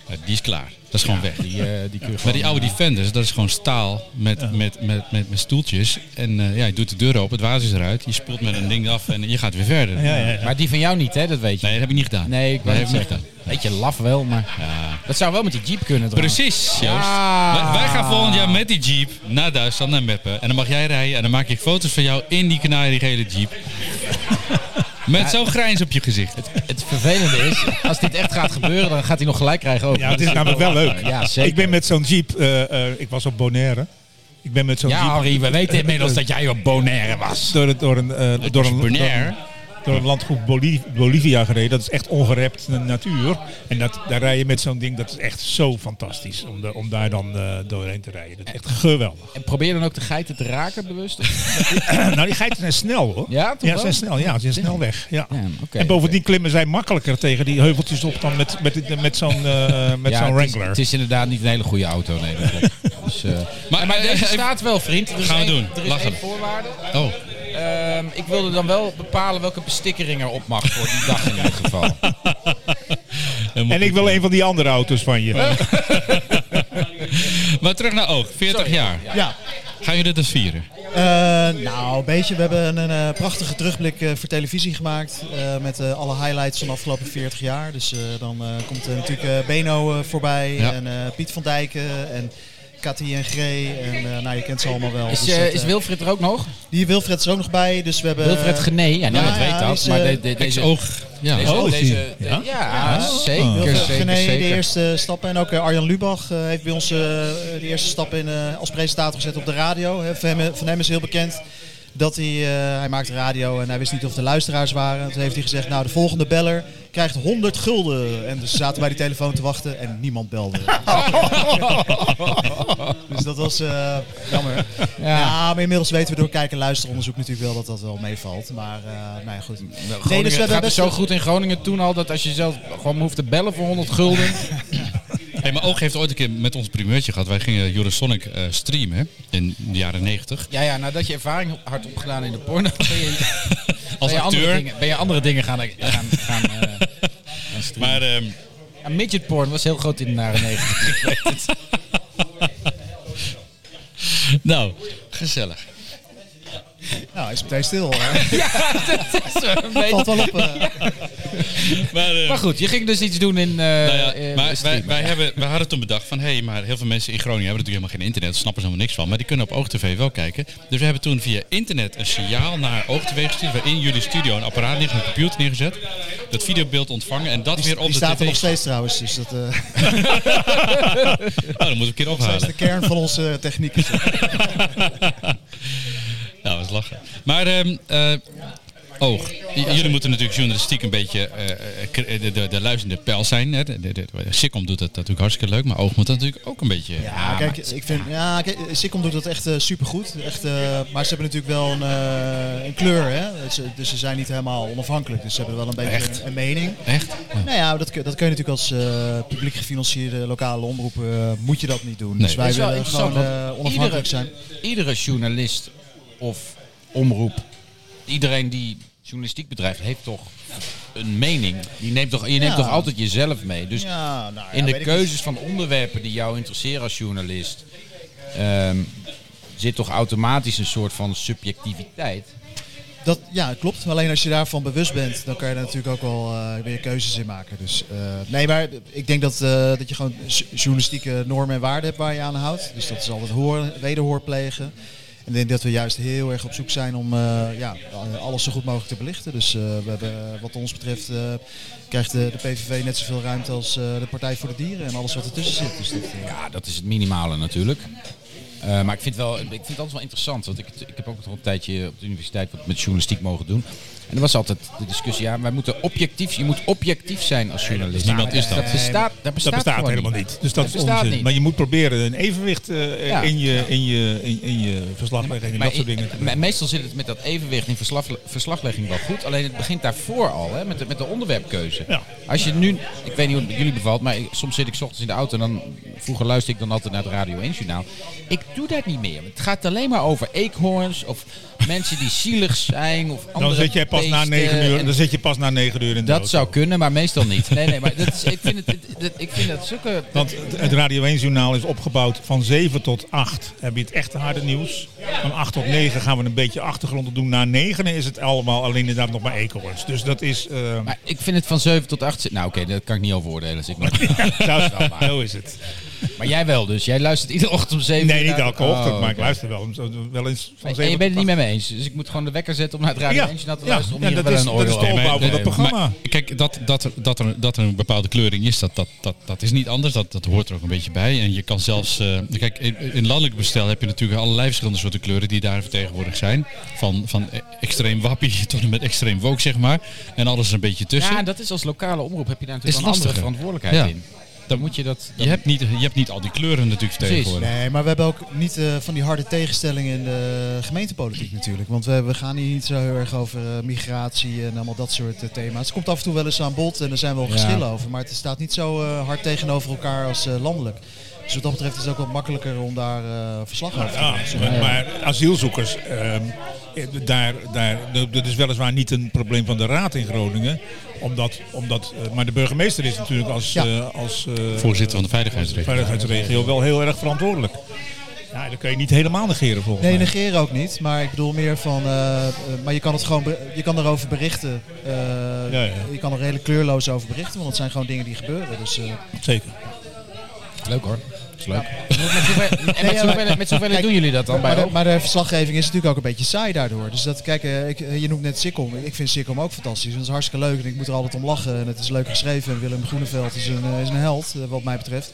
S2: Eh, die is klaar. Dat is gewoon weg.
S1: Die, eh, die kun je
S2: Maar
S1: gewoon,
S2: die oude Defenders, dat is gewoon staal met, met, met, met, met stoeltjes. En eh, ja, je doet de deur open, het water is eruit, je spoelt met een ding af en je gaat weer verder.
S3: ja, ja,
S1: eh,
S3: ja.
S1: Maar die van jou niet, hè? Dat weet je.
S2: Nee, dat heb ik niet gedaan.
S1: Nee, ik
S2: dat
S1: wou
S2: heb
S1: het
S2: ik niet
S1: zeggen.
S2: gedaan.
S1: Beetje laf wel, maar eh,
S2: Ja.
S1: dat zou wel met die jeep kunnen. trouwens.
S2: Precies, Joost.
S1: Ah.
S2: Wij, wij gaan volgend jaar met die jeep naar Duitsland, naar Meppen. En dan mag jij rijden en dan maak ik foto's van jou in die kanariegele jeep. Met zo'n grijns op je gezicht.
S1: Het vervelende is, als dit echt gaat gebeuren, dan gaat hij nog gelijk krijgen ook.
S3: Ja, het is namelijk wel leuk.
S1: Ja, zeker.
S3: Ik ben met zo'n jeep, eh, eh, ik was op Bonaire. Ik ben met zo'n
S1: Ja,
S3: jeep
S1: Harry, we weten inmiddels dat jij op Bonaire was.
S3: door, het, door, een, eh, door, een, door,
S2: Bonaire.
S3: een, door een landgoed Boli- Bolivia gereden. Dat is echt ongerept na- natuur. En dat, daar rij je met zo'n ding, dat is echt zo fantastisch om, de, om daar dan eh, doorheen te rijden. Dat is echt geweldig.
S1: En probeer dan ook de geiten te raken, bewust.
S3: nou, die geiten zijn snel hoor.
S1: Ja, toch
S3: Ja, ze
S1: wel?
S3: zijn snel. Ja, ze zijn snel weg. Ja.
S1: Ja, oké,
S3: en bovendien klimmen zij makkelijker tegen die heuveltjes op dan met, met, met zo'n eh, met
S1: Ja,
S3: zo'n
S1: het is-
S3: Wrangler.
S1: Het is inderdaad niet een hele goede auto, nee. dat klopt. dus, eh,
S2: Maar, maar
S1: deze
S2: even-
S1: staat wel, vriend. Er is
S2: Gaan we
S1: één-
S2: doen.
S1: Er is
S2: Lachen.
S1: één voorwaarde.
S2: Oh,
S1: Ehm, ik wilde dan wel bepalen welke bestikkering er op mag voor die dag in ieder geval.
S3: En ik wil een van die andere auto's van je.
S2: Maar terug naar Oog, 40 jaar.
S4: Ja,
S2: Gaan jullie dat vieren?
S4: Eh, nou, een beetje. We hebben een, eh, prachtige terugblik eh, voor televisie gemaakt. eh, met eh, alle highlights van de afgelopen 40 jaar. Dus eh, dan eh, komt eh, natuurlijk eh, Beno eh, voorbij.
S2: Ja.
S4: En eh, Piet van Dijken. En Cathy en Gree. En eh, nou, je kent ze allemaal wel.
S1: Is,
S4: Dus dat,
S1: eh,
S4: eh,
S1: is Wilfred er ook nog?
S4: die Wilfred is ook nog bij. Dus we hebben.
S1: Wilfred Gené, ja, niemand
S4: ja,
S1: weet
S4: die
S1: dat.
S4: is,
S1: maar
S4: eh,
S1: de- de-
S2: Deze
S1: deze...
S2: Oog. Ja.
S1: Deze,
S3: Oh, is die?
S1: deze- de- ja,
S3: Ja?
S1: Ah, zeker,
S4: Wilfred
S1: zeker,
S4: Oh. Gené,
S1: zeker.
S4: de eerste stappen. En ook eh, Arjan Lubach eh, heeft bij ons eh, de eerste stap in, eh, als presentator gezet op de radio. Hè, Van hem, van hem is heel bekend dat hij, eh, hij maakte radio en hij wist niet of de luisteraars waren. Toen heeft hij gezegd, nou de volgende beller krijgt 100 gulden. En dus ze zaten bij die telefoon te wachten en niemand belde. dus dat was eh, jammer. Ja. maar inmiddels weten we door kijk- en luisteronderzoek natuurlijk wel dat dat wel meevalt. Maar eh nou ja, goed.
S1: Groningen,
S4: dus we
S1: het gaat
S4: hebben
S1: dus
S4: best
S1: zo goed in Groningen toen al dat als je zelf gewoon hoeft te bellen voor 100 gulden.
S2: Hey, maar Oog heeft ooit een keer met ons primeurtje gehad. Wij gingen Eurosonic eh, streamen hè, in de jaren 90.
S1: Ja, ja, nadat je ervaring hard opgedaan in de porno, ben je, ben
S2: Als
S1: je, andere,
S2: acteur.
S1: dingen, ben je andere dingen gaan, gaan, gaan, eh, gaan streamen.
S2: Maar ehm,
S1: Ja, midget porn was heel groot in de jaren 90.
S2: nou, gezellig.
S4: Nou, hij is meteen stil. hè.
S1: ja, dat is wel een beetje-
S4: Valt wel op. eh.
S2: Maar, eh,
S1: Maar goed, je ging dus iets doen in. eh,
S2: nou ja,
S1: eh,
S2: maar wij,
S1: streamen.
S2: wij, hebben, wij hadden toen bedacht van... hé, hey, maar heel veel mensen in Groningen hebben natuurlijk helemaal geen internet. Daar snappen ze helemaal niks van. Maar die kunnen op OogTV wel kijken. Dus we hebben toen via internet een signaal naar OogTV gestuurd... waarin jullie studio een apparaat liggen, een computer neergezet. Dat videobeeld ontvangen en dat weer op
S4: Die
S2: de
S4: staat
S2: tv.
S4: er nog steeds trouwens. Dus dat eh,
S2: Oh, dat moet ik een keer
S4: dat is
S2: ophalen.
S4: de kern van onze techniek. is dat.
S2: Nou, dat is lachen. Maar, ehm, eh, oog. J- Jullie moeten natuurlijk journalistiek een beetje eh, eh, cre- eh, de, de, de luizende pijl zijn. Hè? De, de, de, Sikkom doet dat natuurlijk hartstikke leuk, maar oog moet dat natuurlijk ook een beetje...
S4: Ja, kijk, ik vind, ja, kijk, Sikkom doet dat echt eh, supergoed. Echt, eh, maar ze hebben natuurlijk wel een, eh, een kleur. Hè? Ze- dus ze zijn niet helemaal onafhankelijk. Dus ze hebben wel een beetje
S2: Echt?
S4: een, een mening.
S2: Echt? Ja.
S4: Nou ja, dat, kun- dat kun je natuurlijk als eh, publiek gefinancierde lokale omroepen eh, moet je dat niet doen.
S2: Nee.
S4: Dus
S1: Dat
S4: wij
S1: is wel
S4: willen
S1: interessant,
S4: gewoon
S1: want
S4: eh, onafhankelijk zijn.
S1: Iedere journalist of omroep, iedereen die journalistiek bedrijft, heeft toch een mening. Die neemt toch, je neemt
S4: Ja.
S1: toch altijd jezelf mee. Dus
S4: Ja, nou ja,
S1: in de
S4: weet ik niet.
S1: keuzes van onderwerpen die jou interesseren als journalist, ehm, zit toch automatisch een soort van subjectiviteit.
S4: Dat, ja, klopt. Alleen als je daarvan bewust bent, dan kan je daar natuurlijk ook wel eh, weer keuzes in maken. Dus, eh, nee, maar ik denk dat, eh, dat je gewoon s- journalistieke normen en waarden hebt waar je aan houdt. Dus dat is altijd hoor, wederhoor plegen. En ik denk dat we juist heel erg op zoek zijn om eh, ja, alles zo goed mogelijk te belichten. Dus eh, we hebben, wat ons betreft eh, krijgt de, de PVV net zoveel ruimte als eh, de Partij voor de Dieren en alles wat ertussen zit. Dus dat, eh,
S1: Ja, dat is het minimale natuurlijk. Eh, maar ik vind, wel, ik vind het altijd wel interessant. Want ik, ik heb ook nog een tijdje op de universiteit wat met journalistiek mogen doen. En er was altijd de discussie, ja, wij moeten objectief, je moet objectief zijn als journalist.
S2: dat is niemand is dat.
S1: Dat bestaat, dat
S3: Dat
S1: bestaat,
S3: bestaat
S1: gewoon
S3: helemaal niet. Dus dat,
S1: Dat
S3: is
S1: bestaat
S3: onzin.
S1: niet.
S3: Maar je moet proberen een evenwicht eh,
S1: Ja.
S3: in, je, in, je, in, in je verslaglegging en
S1: Maar
S3: dat soort dingen te
S1: i-
S3: doen.
S1: me- meestal zit het met dat evenwicht in verslag, verslaglegging wel goed. Alleen het begint daarvoor al, hè, met, de, met de onderwerpkeuze.
S3: Ja.
S1: Als je nu, ik weet niet hoe het met jullie bevalt, maar ik- soms zit ik 's ochtends in de auto en dan vroeger luister ik dan altijd naar het Radio 1 journaal. Ik doe dat niet meer. Het gaat alleen maar over eekhoorns of mensen die zielig zijn of andere
S3: Dan zit jij pas na
S1: beesten.
S3: 9 uur,
S1: En
S3: dan zit je pas na 9 uur in de
S1: dat
S3: auto.
S1: zou kunnen, maar meestal niet. Nee, nee, maar dat is, ik vind het, het- het- ik vind dat zulke...
S3: Want het Radio 1-journaal is opgebouwd van 7 tot 8. Heb je het echte harde nieuws. Van 8 tot 9 gaan we een beetje achtergrond op doen. Na 9 is het allemaal alleen inderdaad nog maar eekhoorns. Dus dat is... eh,
S1: Maar ik vind het van 7 tot 8... Nou oké, dat kan ik niet over oordelen als ik nog...
S3: dat is
S1: wel waar.
S3: Zo is het.
S1: Maar jij wel dus. Jij luistert iedere ochtend om 7
S3: Nee,
S1: uur
S3: niet
S1: naar-
S3: elke ochtend,
S1: Oh,
S3: maar ik
S1: oké.
S3: luister wel, wel eens van 7
S1: En je bent het
S3: tot
S1: niet met me eens. Dus ik moet gewoon de wekker zetten om naar het Radio
S3: Ja,
S1: 1 journaal te
S3: ja,
S1: luisteren. Om
S3: ja,
S1: hier
S3: dat
S1: wel
S3: is-
S1: een
S3: dat
S1: oordeel
S3: is de
S1: over
S3: opbouw
S1: te
S3: van dat
S1: nemen.
S3: programma.
S2: Maar kijk, dat, dat, er, dat, er, dat er een bepaalde kleuring is, dat, dat, dat, dat is niet anders. Dat, dat hoort er ook een beetje bij. En je kan zelfs... eh, kijk, in, in landelijk bestel heb je natuurlijk allerlei verschillende soorten kleuren die daar vertegenwoordigd zijn. Van, van eh, extreem wappie tot en met extreem woke, zeg maar. En alles er een beetje tussen.
S1: Ja, en dat is als lokale omroep heb je daar
S2: Is
S1: natuurlijk wel een andere
S2: lastiger.
S1: verantwoordelijkheid
S2: Ja.
S1: in. Dan moet je dat...
S2: je, hebt niet, je hebt niet al die kleuren natuurlijk vertegenwoordigd.
S4: Nee, maar we hebben ook niet eh, van die harde tegenstellingen in de gemeentepolitiek natuurlijk. Want we, we gaan hier niet zo heel erg over eh, migratie en allemaal dat soort eh, thema's. Het komt af en toe wel eens aan bod en er zijn wel verschillen over. Maar het staat niet zo eh, hard tegenover elkaar als eh, landelijk. Dus wat dat betreft is het ook wat makkelijker om daar eh, verslag over te
S3: Ja,
S4: doen.
S3: maar, maar asielzoekers, ehm, eh, daar, daar, dat is weliswaar niet een probleem van de raad in Groningen. Omdat, omdat, eh, maar de burgemeester is natuurlijk als,
S4: Ja.
S3: eh, als eh,
S2: Voorzitter van de veiligheidsregio.
S3: veiligheidsregio wel heel erg verantwoordelijk. Ja, dat kun je niet helemaal negeren volgens
S4: Nee,
S3: mij.
S4: negeren ook niet. Maar ik bedoel meer van. eh, eh, maar je kan het gewoon. be- Je kan erover berichten. Eh,
S3: Ja, ja.
S4: Je kan er redelijk kleurloos over berichten. Want het zijn gewoon dingen die gebeuren. Dus. eh,
S3: Zeker.
S1: Leuk hoor. Dat is leuk. Met zoveel- En met zoveel- met zoveel
S4: Kijk,
S1: doen jullie dat dan bij
S4: maar, de,
S1: elkaar?
S4: maar de verslaggeving is natuurlijk ook een beetje saai daardoor. Dus dat, kijk, eh, ik, eh, je noemt net Sikkom. Ik vind Sikkom ook fantastisch. Dat is hartstikke leuk en ik moet er altijd om lachen. En het is leuk geschreven. En Willem Groeneveld is een, eh, is een held, eh, wat mij betreft.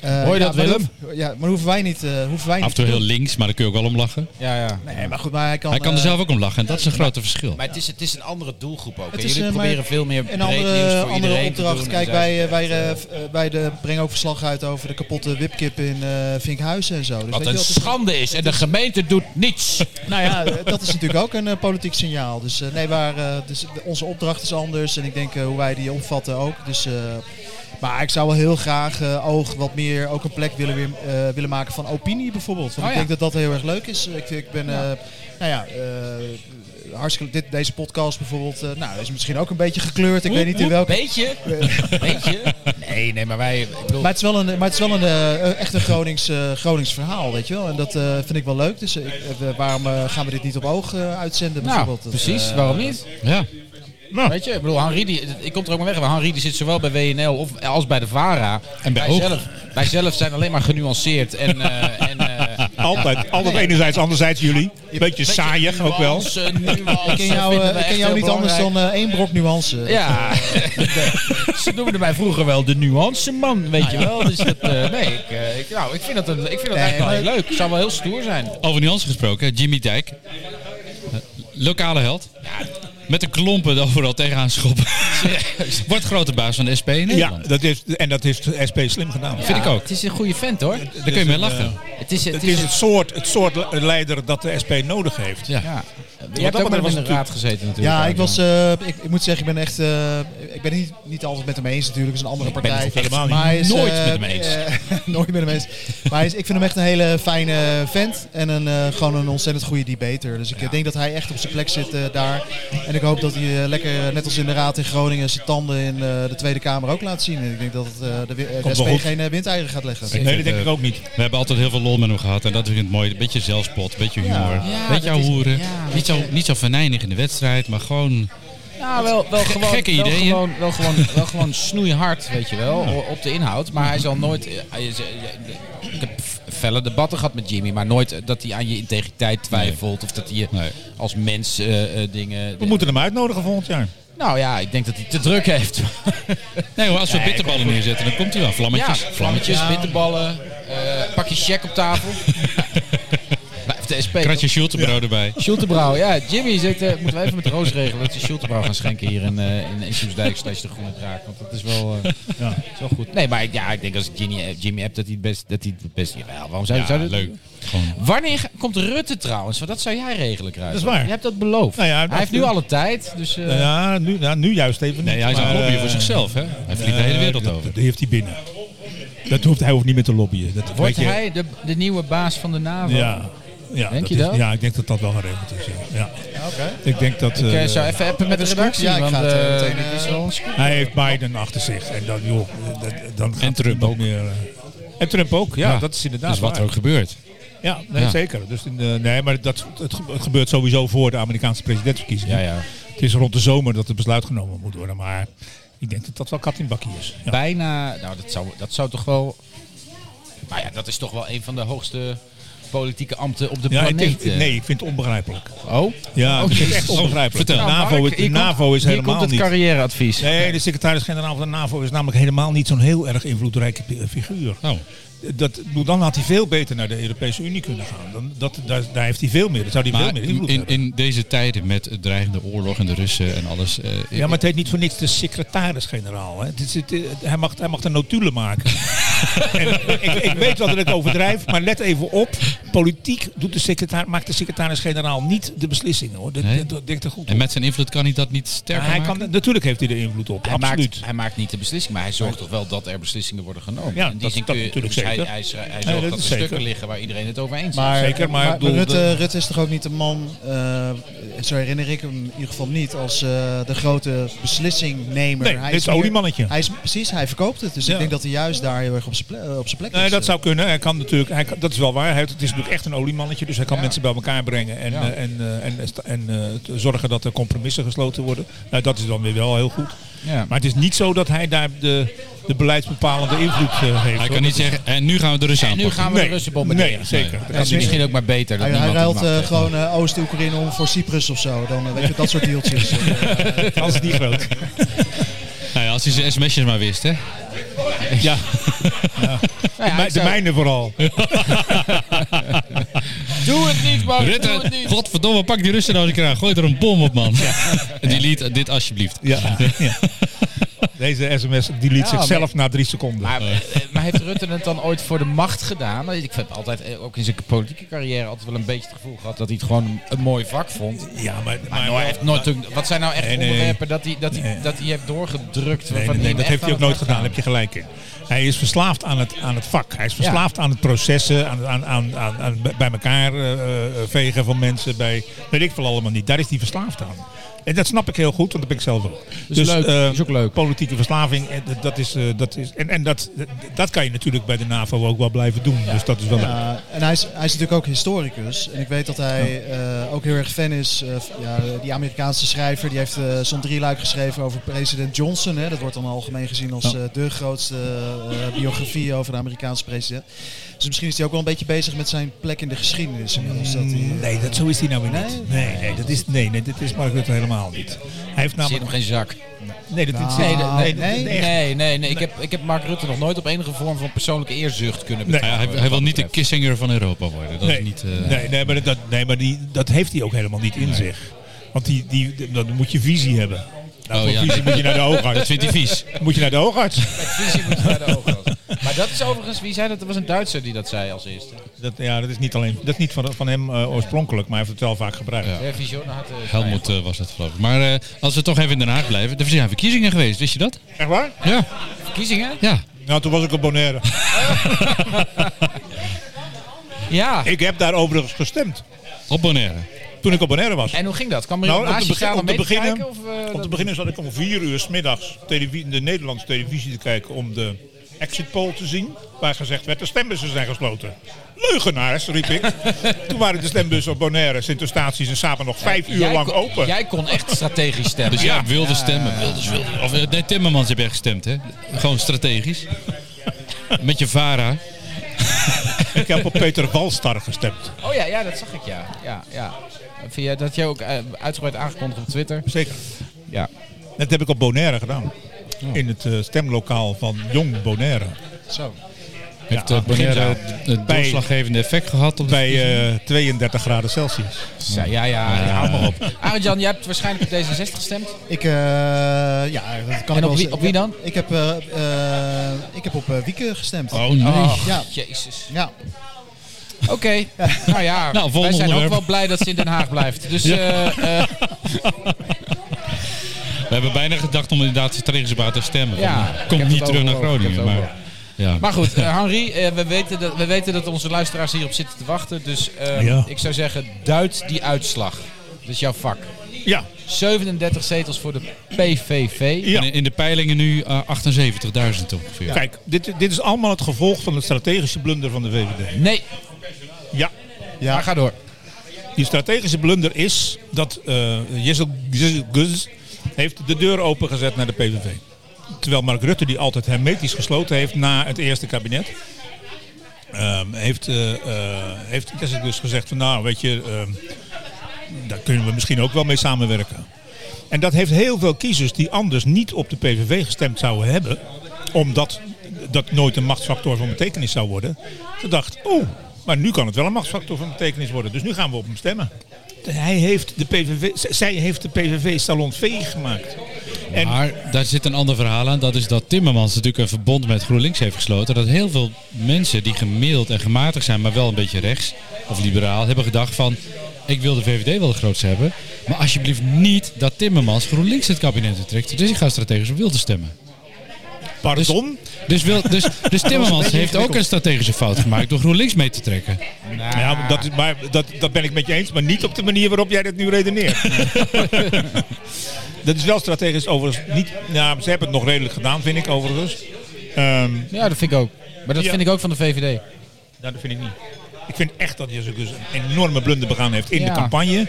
S4: Eh,
S1: Hoor je dat,
S4: maar
S1: Willem?
S4: hoef- ja, maar hoeven wij niet, eh, hoeven wij
S2: Af
S4: niet
S2: en toe
S4: te
S2: heel
S4: doen.
S2: links, maar daar kun je ook wel om lachen.
S1: Ja, ja.
S4: Nee, maar goed, maar hij kan...
S2: Hij kan er
S4: eh,
S2: zelf ook om lachen en dat is een grote verschil.
S1: Maar het is, het is een andere doelgroep ook. hè.
S4: Het is,
S1: Jullie
S4: eh, maar
S1: proberen veel meer breed
S4: een
S1: nieuws
S4: andere,
S1: voor
S4: andere
S1: iedereen te
S4: opdracht.
S1: doen.
S4: Kijk,
S1: En zij-
S4: wij, eh, wij, eh, v- eh, wij de, brengen ook verslag uit over de kapotte wipkip in eh, Vinkhuizen en zo. Dus weet
S1: Wat
S4: je
S1: een
S4: wel, het is-
S1: schande is. En de gemeente doet niets.
S4: Nou ja, eh, dat is natuurlijk ook een eh, politiek signaal. Dus eh, nee, waar, eh, dus de- onze opdracht is anders en ik denk eh, hoe wij die opvatten ook. Dus, eh, maar ik zou wel heel graag eh, oog wat meer ook een plek willen, weer, eh, willen maken van opinie bijvoorbeeld. Want
S1: Oh
S4: ik
S1: ja.
S4: denk dat dat heel erg leuk is. Ik, vind- ik ben, eh, nou ja, eh, hartstikke, dit, deze podcast bijvoorbeeld, eh, nou is misschien ook een beetje gekleurd. Ik weet niet in welke.
S1: Beetje? Beetje? Nee, nee, maar wij... ik bedoel-
S4: Maar het is wel een, maar het is wel een eh, echt een Gronings, eh, Gronings verhaal, weet je wel. En dat eh, vind ik wel leuk. Dus eh, ik- eh, waarom eh, gaan we dit niet op oog eh, uitzenden
S1: Nou,
S4: bijvoorbeeld? Dat,
S1: precies.
S4: eh,
S1: Waarom niet?
S2: Ja.
S1: Weet je, ik bedoel, Henri, die, ik kom er ook maar weg. Maar Henri die zit zowel bij WNL of, eh, als bij de VARA.
S2: En bij
S1: wij,
S2: Oog.
S1: zelf, wij zelf zijn alleen maar genuanceerd. En, eh, en, eh,
S3: Altijd, altijd enerzijds, anderzijds jullie. Beetje
S1: beetje
S3: saaiig ook wel.
S1: nuance, nuance
S4: Ik ken jou,
S1: vinden
S4: eh,
S1: wij
S4: ik ken
S1: echt
S4: jou
S1: heel
S4: niet anders
S1: belangrijk.
S4: dan eh, één brok nuance.
S1: Ja, ze noemden mij vroeger wel de nuanceman, weet je wel. Dus dat, eh, nee, ik, eh, ik, nou, ik vind dat, een, ik vind dat
S4: Nee,
S1: eigenlijk wel
S4: maar-
S1: heel leuk. Het zou wel heel stoer zijn.
S2: Over nuance gesproken, Jimmy Dijk. Eh, Lokale held. Met de klompen overal tegenaan schoppen. Wordt grote baas van de SP in
S3: Ja,
S2: Nederland.
S3: dat heeft, en dat heeft de SP slim gedaan.
S2: Vind ik ook.
S1: Het is een goede vent hoor.
S2: Daar kun je mee lachen.
S1: Het is,
S3: Het is het soort, het soort le- leider dat de SP nodig heeft.
S2: ja.
S1: ja. Je
S3: dat
S1: hebt ook
S3: betreft
S1: met hem
S3: was
S1: in de
S3: het
S1: raad gezeten natuurlijk.
S4: Ja, ik,
S1: Arjan.
S4: was, eh, ik, ik moet zeggen, ik ben echt. eh, ik ben het niet, niet altijd met hem eens natuurlijk, het is een andere
S3: ben
S4: partij.
S3: het helemaal niet.
S4: hij is,
S2: Nooit
S4: eh,
S2: met hem eens.
S4: eh, Nooit met hem eens. Maar hij is, ik vind hem echt een hele fijne vent. En een, eh, gewoon een ontzettend goede debater. Dus ik eh, denk dat hij echt op zijn plek zit eh, daar. En ik hoop dat hij eh, lekker, eh, net als in de Raad in Groningen, zijn tanden in eh, de Tweede Kamer ook laat zien. En ik denk dat het, eh, de, wi- eh, de
S3: Komt wel
S4: SP
S3: goed.
S4: geen eh, windeieren gaat leggen.
S3: Nee, dat denk
S2: eh,
S3: ik ook niet.
S2: We hebben altijd heel veel lol met hem gehad. En dat vind ik het mooi. Een beetje zelfspot, een beetje humor.
S1: Ja,
S2: beetje
S1: dat is-
S2: ouwehoeren.
S1: ja,
S2: niet, zo, niet zo venijnig in de wedstrijd, maar gewoon...
S1: Nou, wel, wel gewoon,
S2: gekke
S1: wel
S2: ideeën.
S1: Gewoon, wel, gewoon, wel gewoon snoeihard, weet je wel, o- op de inhoud. Maar hij zal nooit... eh, hij is, eh, Ik heb felle debatten gehad met Jimmy, maar nooit eh, dat hij aan je integriteit twijfelt. Of dat hij je
S2: Nee.
S1: als mens eh, eh, dingen...
S3: We moeten hem uitnodigen volgend jaar.
S1: Nou ja, ik denk dat hij te druk heeft.
S2: Nee hoor, als we bitterballen neerzetten, dan komt hij wel. Vlammetjes.
S1: Ja,
S2: vlammetjes.
S1: vlammetjes, bitterballen, eh, pakje check op tafel. Blijft de SP.
S2: Kratje Schultebrouw erbij.
S1: Schultebrouw, ja. Jimmy zegt, eh, moeten we even met Roos regelen dat ze Schultebrouw gaan schenken hier in, eh in, in Soesdijk slash de Groene Draak. Want dat is wel, eh,
S3: Ja.
S1: is wel goed. Nee, maar ik- ja, ik denk als ik Jimmy, eh, Jimmy hebt dat hij het best, dat hij het best, jawel, waarom zou,
S2: Ja,
S1: zou dat-
S2: leuk. Gewoon.
S1: Wanneer ga- komt Rutte trouwens? Want dat zou jij regelen, Kruis.
S3: Dat is waar.
S1: Je hebt dat beloofd.
S3: Nou ja,
S1: hij
S3: dat-
S1: heeft nu alle tijd, dus... eh,
S3: Ja, nu, nou, nu juist even
S2: Nee,
S3: niet,
S2: hij is
S3: maar,
S2: een lobbyer
S3: eh,
S2: voor zichzelf, hè? Hij vliegt de
S3: eh,
S2: hele wereld
S3: dat-
S2: over.
S3: Dat heeft hij binnen. Dat hoeft, hij hoeft niet meer te lobbyen. Dat,
S1: Wordt
S3: weet je-
S1: hij de, de nieuwe baas van de NAVO?
S3: Ja. ja
S1: Denk je
S3: is-
S1: dat?
S3: Ja, ik denk dat dat wel geregeld is. Ja. Ja. Ik denk dat...
S1: Kun
S3: eh,
S1: je zo even appen met de
S4: een scoop?
S1: redactie?
S4: Ja, ik
S1: want,
S4: ga het, eh,
S1: eh,
S4: meteen, eh,
S1: dit is wel een scoop.
S3: Hij heeft Biden achter zich. En dan, joh, eh, dat- dan gaat
S2: En Trump
S3: het
S2: ook.
S3: niet Meer, eh. en Trump ook, ja,
S2: Ja.
S3: dat is inderdaad
S2: Dat is wat er
S3: waar.
S2: ook gebeurt.
S3: Ja, nee,
S2: Ja.
S3: zeker. Dus, in de- nee, maar dat, het, ge- het gebeurt sowieso voor de Amerikaanse presidentsverkiezingen.
S1: Ja, ja.
S3: Het is rond de zomer dat het besluit genomen moet worden. Maar ik denk dat dat wel kat in bakkie is. Ja.
S1: bijna. Nou, dat zou, dat zou toch wel. Maar ja, dat is toch wel een van de hoogste politieke ambten op de
S3: Ja, het is-
S1: planeet. eh.
S3: nee, ik vind het onbegrijpelijk.
S1: Oh?
S3: Ja, ik vind
S1: jezus.
S3: het echt onbegrijpelijk.
S2: vertel.
S3: De
S1: Nou,
S3: NAVO,
S1: Mark,
S3: is-
S1: hier
S3: de NAVO is
S1: komt, Hier
S3: helemaal
S1: komt het
S3: niet...
S1: carrièreadvies.
S3: Nee, de secretaris-generaal van de NAVO is namelijk helemaal niet zo'n heel erg invloedrijke pi- eh, figuur.
S2: Oh.
S3: Dat, dan had hij veel beter naar de Europese Unie kunnen gaan. Dan, dat, daar, daar heeft hij veel meer. Dan zou hij veel
S2: Maar
S3: meer
S2: in,
S3: invloed
S2: in,
S3: hebben.
S2: in deze tijden met het dreigende oorlog en de Russen en alles... eh,
S3: Ja, maar het heet niet voor niks de secretaris-generaal. hè. Het is- het- het- Hij mag, hij mag de notulen maken. en, ik, ik weet wel dat ik overdrijf, maar let even op. Politiek doet de secretaris, maakt de secretaris-generaal niet de beslissingen. Hoor. Dat,
S2: Nee?
S3: dat, dat denkt er goed
S2: En
S3: op.
S2: met zijn invloed kan hij dat niet sterker
S3: Hij
S2: maken?
S3: kan, natuurlijk heeft hij er invloed op,
S1: Hij
S3: absoluut.
S1: maakt, hij maakt niet de beslissing, maar hij zorgt toch wel dat er beslissingen worden genomen.
S3: Ja,
S1: In die
S3: dat-
S1: zin
S3: dat
S1: kun je-
S3: natuurlijk
S1: dus hij-
S3: zeker.
S1: Hij, zorgt- hij
S3: Nee,
S1: zorgt
S3: dat
S1: dat er
S3: is
S1: stukken
S3: zeker.
S1: liggen waar iedereen het over eens is.
S4: Maar,
S3: Zeker, maar ik bedoel,
S4: Rutte,
S3: de-
S4: Rutte is toch ook niet de man, eh, zo herinner ik hem in ieder geval niet, als eh, de grote beslissingnemer.
S3: Nee, dit is
S4: meer-
S3: oliemannetje.
S4: Hij is, precies, hij verkoopt het. Dus
S3: Ja.
S4: ik denk dat hij juist daar heel erg op zijn plek, eh, op zijn plek
S3: Nee,
S4: is.
S3: dat zou kunnen. Hij kan natuurlijk, hij kan- dat is wel waar. Hij, het is natuurlijk echt een oliemannetje, dus hij kan
S1: Ja.
S3: mensen bij elkaar brengen en,
S1: Ja.
S3: eh, en, eh, en, en, sta- en eh, zorgen dat er compromissen gesloten worden. Nou, dat is dan weer wel heel goed.
S1: Ja.
S3: Maar het is niet zo dat hij daar de, de beleidsbepalende invloed eh, heeft.
S2: Hij
S3: hoor.
S2: kan niet zeggen, en nu gaan we de Russen
S1: en nu
S2: aanpakken.
S1: gaan we
S3: Nee,
S1: de Russen bombarderen.
S3: nee, zeker.
S1: Dat is misschien ook maar beter. Dat
S4: Hij, hij
S1: niemand het
S4: ruilt
S1: mag,
S4: eh,
S1: hè.
S4: gewoon eh, Oost-Oekraïne om voor Cyprus of zo. Dan eh, weet je dat soort deeltjes. Eh,
S3: De kans is niet groot.
S2: Nou ja, als hij zijn sms'jes maar wist, hè.
S3: Ja,
S1: Nou ja,
S3: de
S1: ik zou-
S3: mijne vooral.
S1: Doe het niet, man. Doe het
S2: Rutte,
S1: niet.
S2: godverdomme, pak die Russen nou eens een keer aan. Gooi er een bom op, man. Delete dit alsjeblieft.
S3: Ja. Ja. Deze sms die liet
S1: Ja,
S3: zichzelf na drie seconden.
S1: Maar, eh, maar heeft Rutte het dan ooit voor de macht gedaan? Want Ik heb altijd, eh, ook in zijn politieke carrière, altijd wel een beetje het gevoel gehad dat hij het gewoon een, een mooi vak vond.
S3: ja, maar, maar,
S1: Maar nooit, heeft nooit, toen- wat zijn nou echt
S3: Nee, nee.
S1: onderwerpen dat hij, dat, hij,
S3: Nee.
S1: dat hij heeft doorgedrukt?
S3: Nee,
S1: waarvan
S3: nee, nee,
S1: hem
S3: dat
S1: echt
S3: heeft hij ook
S1: aan het
S3: nooit
S1: hart
S3: gedaan. Daar
S1: gaat?
S3: heb je gelijk in. Hij is verslaafd aan het, aan het vak. Hij is verslaafd aan het processen, aan, aan, aan, aan, aan bij elkaar eh, eh, vegen van mensen. Bij, weet ik veel allemaal niet. Daar is hij verslaafd aan. En dat snap ik heel goed, want dat ben ik zelf ook.
S1: is leuk.
S3: eh,
S1: Is ook leuk.
S3: Politieke verslaving, eh, dat- dat is, eh, dat is, en, en dat, dat kan je natuurlijk bij de NAVO ook wel blijven doen. Dus dat is wel leuk.
S4: Ja, Eh, en hij is, hij is natuurlijk ook historicus. En ik weet dat hij eh, ook heel erg fan is. eh, v- ja, die Amerikaanse schrijver die heeft eh, zo'n drieluik geschreven over president Johnson. Hè. Dat wordt dan algemeen gezien als eh, de grootste eh, biografie over de Amerikaanse president. Dus misschien is hij ook wel een beetje bezig met zijn plek in de geschiedenis. Inmiddels, dat hij, eh,
S3: Nee, dat, zo is hij nou weer
S4: Nee?
S3: niet. Nee, nee, dat is, nee, nee, dat is Mark Rutte helemaal niet. Hij heeft
S1: Zit
S3: namelijk...
S1: hem geen zak.
S3: Ah, Nee, dat is...
S1: Nee, dat- nee,
S3: dat-
S1: nee,
S3: echt.
S1: nee, nee, nee. Ik, heb, ik heb Mark Rutte nog nooit op enige vorm van persoonlijke eerzucht kunnen
S3: Nee.
S2: Hij,
S1: betrappen.
S2: hij- hij wil niet de Kissinger van Europa worden. Dat
S3: nee.
S2: is niet... eh,
S3: nee, nee, maar, dat, nee, maar die, dat heeft hij ook helemaal niet in zich. Want die, die, dan moet je visie hebben. Nou,
S2: Oh,
S3: voor
S2: ja.
S3: visie moet je naar de
S2: Dat
S3: oogarts.
S2: vindt hij vies.
S3: moet je naar de oogarts.
S1: Visie moet je bij de ogen houden. Maar dat is overigens, wie zei dat? Dat was een Duitser die dat zei als eerste.
S3: Dat, ja, dat is niet alleen dat is niet van, van hem eh, oorspronkelijk, maar hij heeft het wel vaak gebruikt.
S2: Ja.
S1: Ja. Vision had, eh,
S2: Helmut eh, was dat geloof ik. Maar eh, als we toch even in Den Haag blijven. Er zijn verkiezingen geweest, wist je dat?
S3: Echt waar?
S2: Ja.
S1: Verkiezingen?
S2: Ja.
S3: Nou, toen was ik op Bonaire.
S1: Ja.
S3: Ik heb daar overigens gestemd.
S2: Op Bonaire.
S3: Toen ik op Bonaire was.
S1: En hoe ging dat? Kwam er
S3: Nou, om
S1: naast
S3: te
S1: je
S3: begin-
S1: staan om
S3: om te
S1: mee te
S3: beginnen-
S1: kijken? Of, eh,
S3: Om te
S1: dat-
S3: beginnen zat ik om vier uur 's middags televi- de Nederlandse televisie te kijken om de exit poll te zien. Waar gezegd werd de stembussen zijn gesloten. Leugenaars, riep ik. Toen waren de stembussen op Bonaire, Sint-Eustatius en Samen nog vijf uur
S1: Jij
S3: lang
S1: kon-
S3: open.
S1: Jij kon echt strategisch stemmen.
S2: Dus
S1: ja.
S2: ja, wilde stemmen. Wilders wilde. Of, eh, nee, Timmermans heb jij gestemd, hè? Gewoon strategisch. Met je Vara.
S3: Ik heb op Peter Walstar gestemd.
S1: Oh ja, ja, dat zag ik ja. ja, ja. Via, dat had jij ook eh, uitgebreid aangekondigd op Twitter.
S3: Zeker.
S1: Ja.
S3: Dat heb ik op Bonaire gedaan.
S1: Oh.
S3: In het eh, stemlokaal van Jong Bonaire.
S1: Zo.
S2: Heeft
S3: Ja,
S2: eh, Bonaire
S3: begin
S2: een
S3: Bij-
S2: doorslaggevende effect gehad op de
S3: Bij eh, 32 graden Celsius.
S1: Ja, ja, ja. ja.
S3: Haal maar op.
S1: Arjan, jij hebt waarschijnlijk op D66 gestemd.
S4: Ik, eh, ja, dat kan ik wel
S1: op wie-
S4: zeggen.
S1: op wie dan?
S4: Ik heb, eh, eh, ik heb op eh, Wieke gestemd.
S2: Oh nee.
S1: Oh,
S4: Ja.
S1: jezus.
S4: Ja,
S1: Oké. Nou ja,
S2: Nou, volgende
S1: wij zijn
S2: onderwerp.
S1: ook wel blij dat ze in Den Haag blijft. Dus eh, eh,
S2: We hebben bijna gedacht om inderdaad strategisch op haar te stemmen.
S1: Ja,
S2: Van, eh,
S1: ik heb
S2: Komt
S1: het
S2: niet terug naar
S1: overwogen, ik heb
S2: Groningen.
S1: het
S2: Maar, ja.
S1: Maar goed, eh, Henri, eh, we, weten dat, we weten dat onze luisteraars hierop zitten te wachten. Dus eh,
S3: Ja.
S1: ik zou zeggen, duid die uitslag. Dat is jouw vak.
S3: Ja,
S1: 37 zetels voor de PVV.
S3: ja.
S2: En in de peilingen nu eh, 78.000 ongeveer.
S3: Kijk, dit, dit is allemaal het gevolg van de strategische blunder van de VVD.
S1: Nee,
S3: Ja,
S1: maar ga door.
S3: Die strategische blunder is dat eh Jessel Jessel Gus heeft de deur opengezet naar de PVV. Terwijl Mark Rutte, die altijd hermetisch gesloten heeft na het eerste kabinet, ehm, heeft, eh eh, heeft Jessel Gus gezegd van nou weet je, ehm, daar kunnen we misschien ook wel mee samenwerken. En dat heeft heel veel kiezers die anders niet op de PVV gestemd zouden hebben, omdat dat nooit een machtsfactor van betekenis zou worden, gedacht, oh, maar nu kan het wel een machtsfactor van betekenis worden, dus nu gaan we op hem stemmen. Hij heeft de PVV, z- zij heeft de PVV salon V gemaakt. En
S2: Maar daar zit een ander verhaal aan. Dat is dat Timmermans natuurlijk een verbond met GroenLinks heeft gesloten. Dat heel veel mensen die gemiddeld en gematigd zijn, maar wel een beetje rechts of liberaal, hebben gedacht van... Ik wil de VVD wel het grootste hebben. Maar alsjeblieft niet dat Timmermans GroenLinks het kabinet intrekt. Dus ik ga strategisch op Wilde stemmen.
S3: pardon,
S2: Dus, wil, dus, dus Timmermans heeft ook een strategische fout gemaakt door GroenLinks mee te trekken.
S3: Nou ja, maar dat, is, maar dat, dat ben ik met je eens, maar niet op de manier waarop jij dit nu redeneert. dat is wel strategisch overigens niet. Nou, ze hebben het nog redelijk gedaan, vind ik overigens. Ehm,
S1: Ja, dat vind ik ook. Maar dat
S3: Ja.
S1: vind ik ook van de VVD.
S3: Nou, dat vind ik niet. Ik vind echt dat Jezus dus een enorme blunder begaan heeft in
S1: Ja.
S3: de campagne.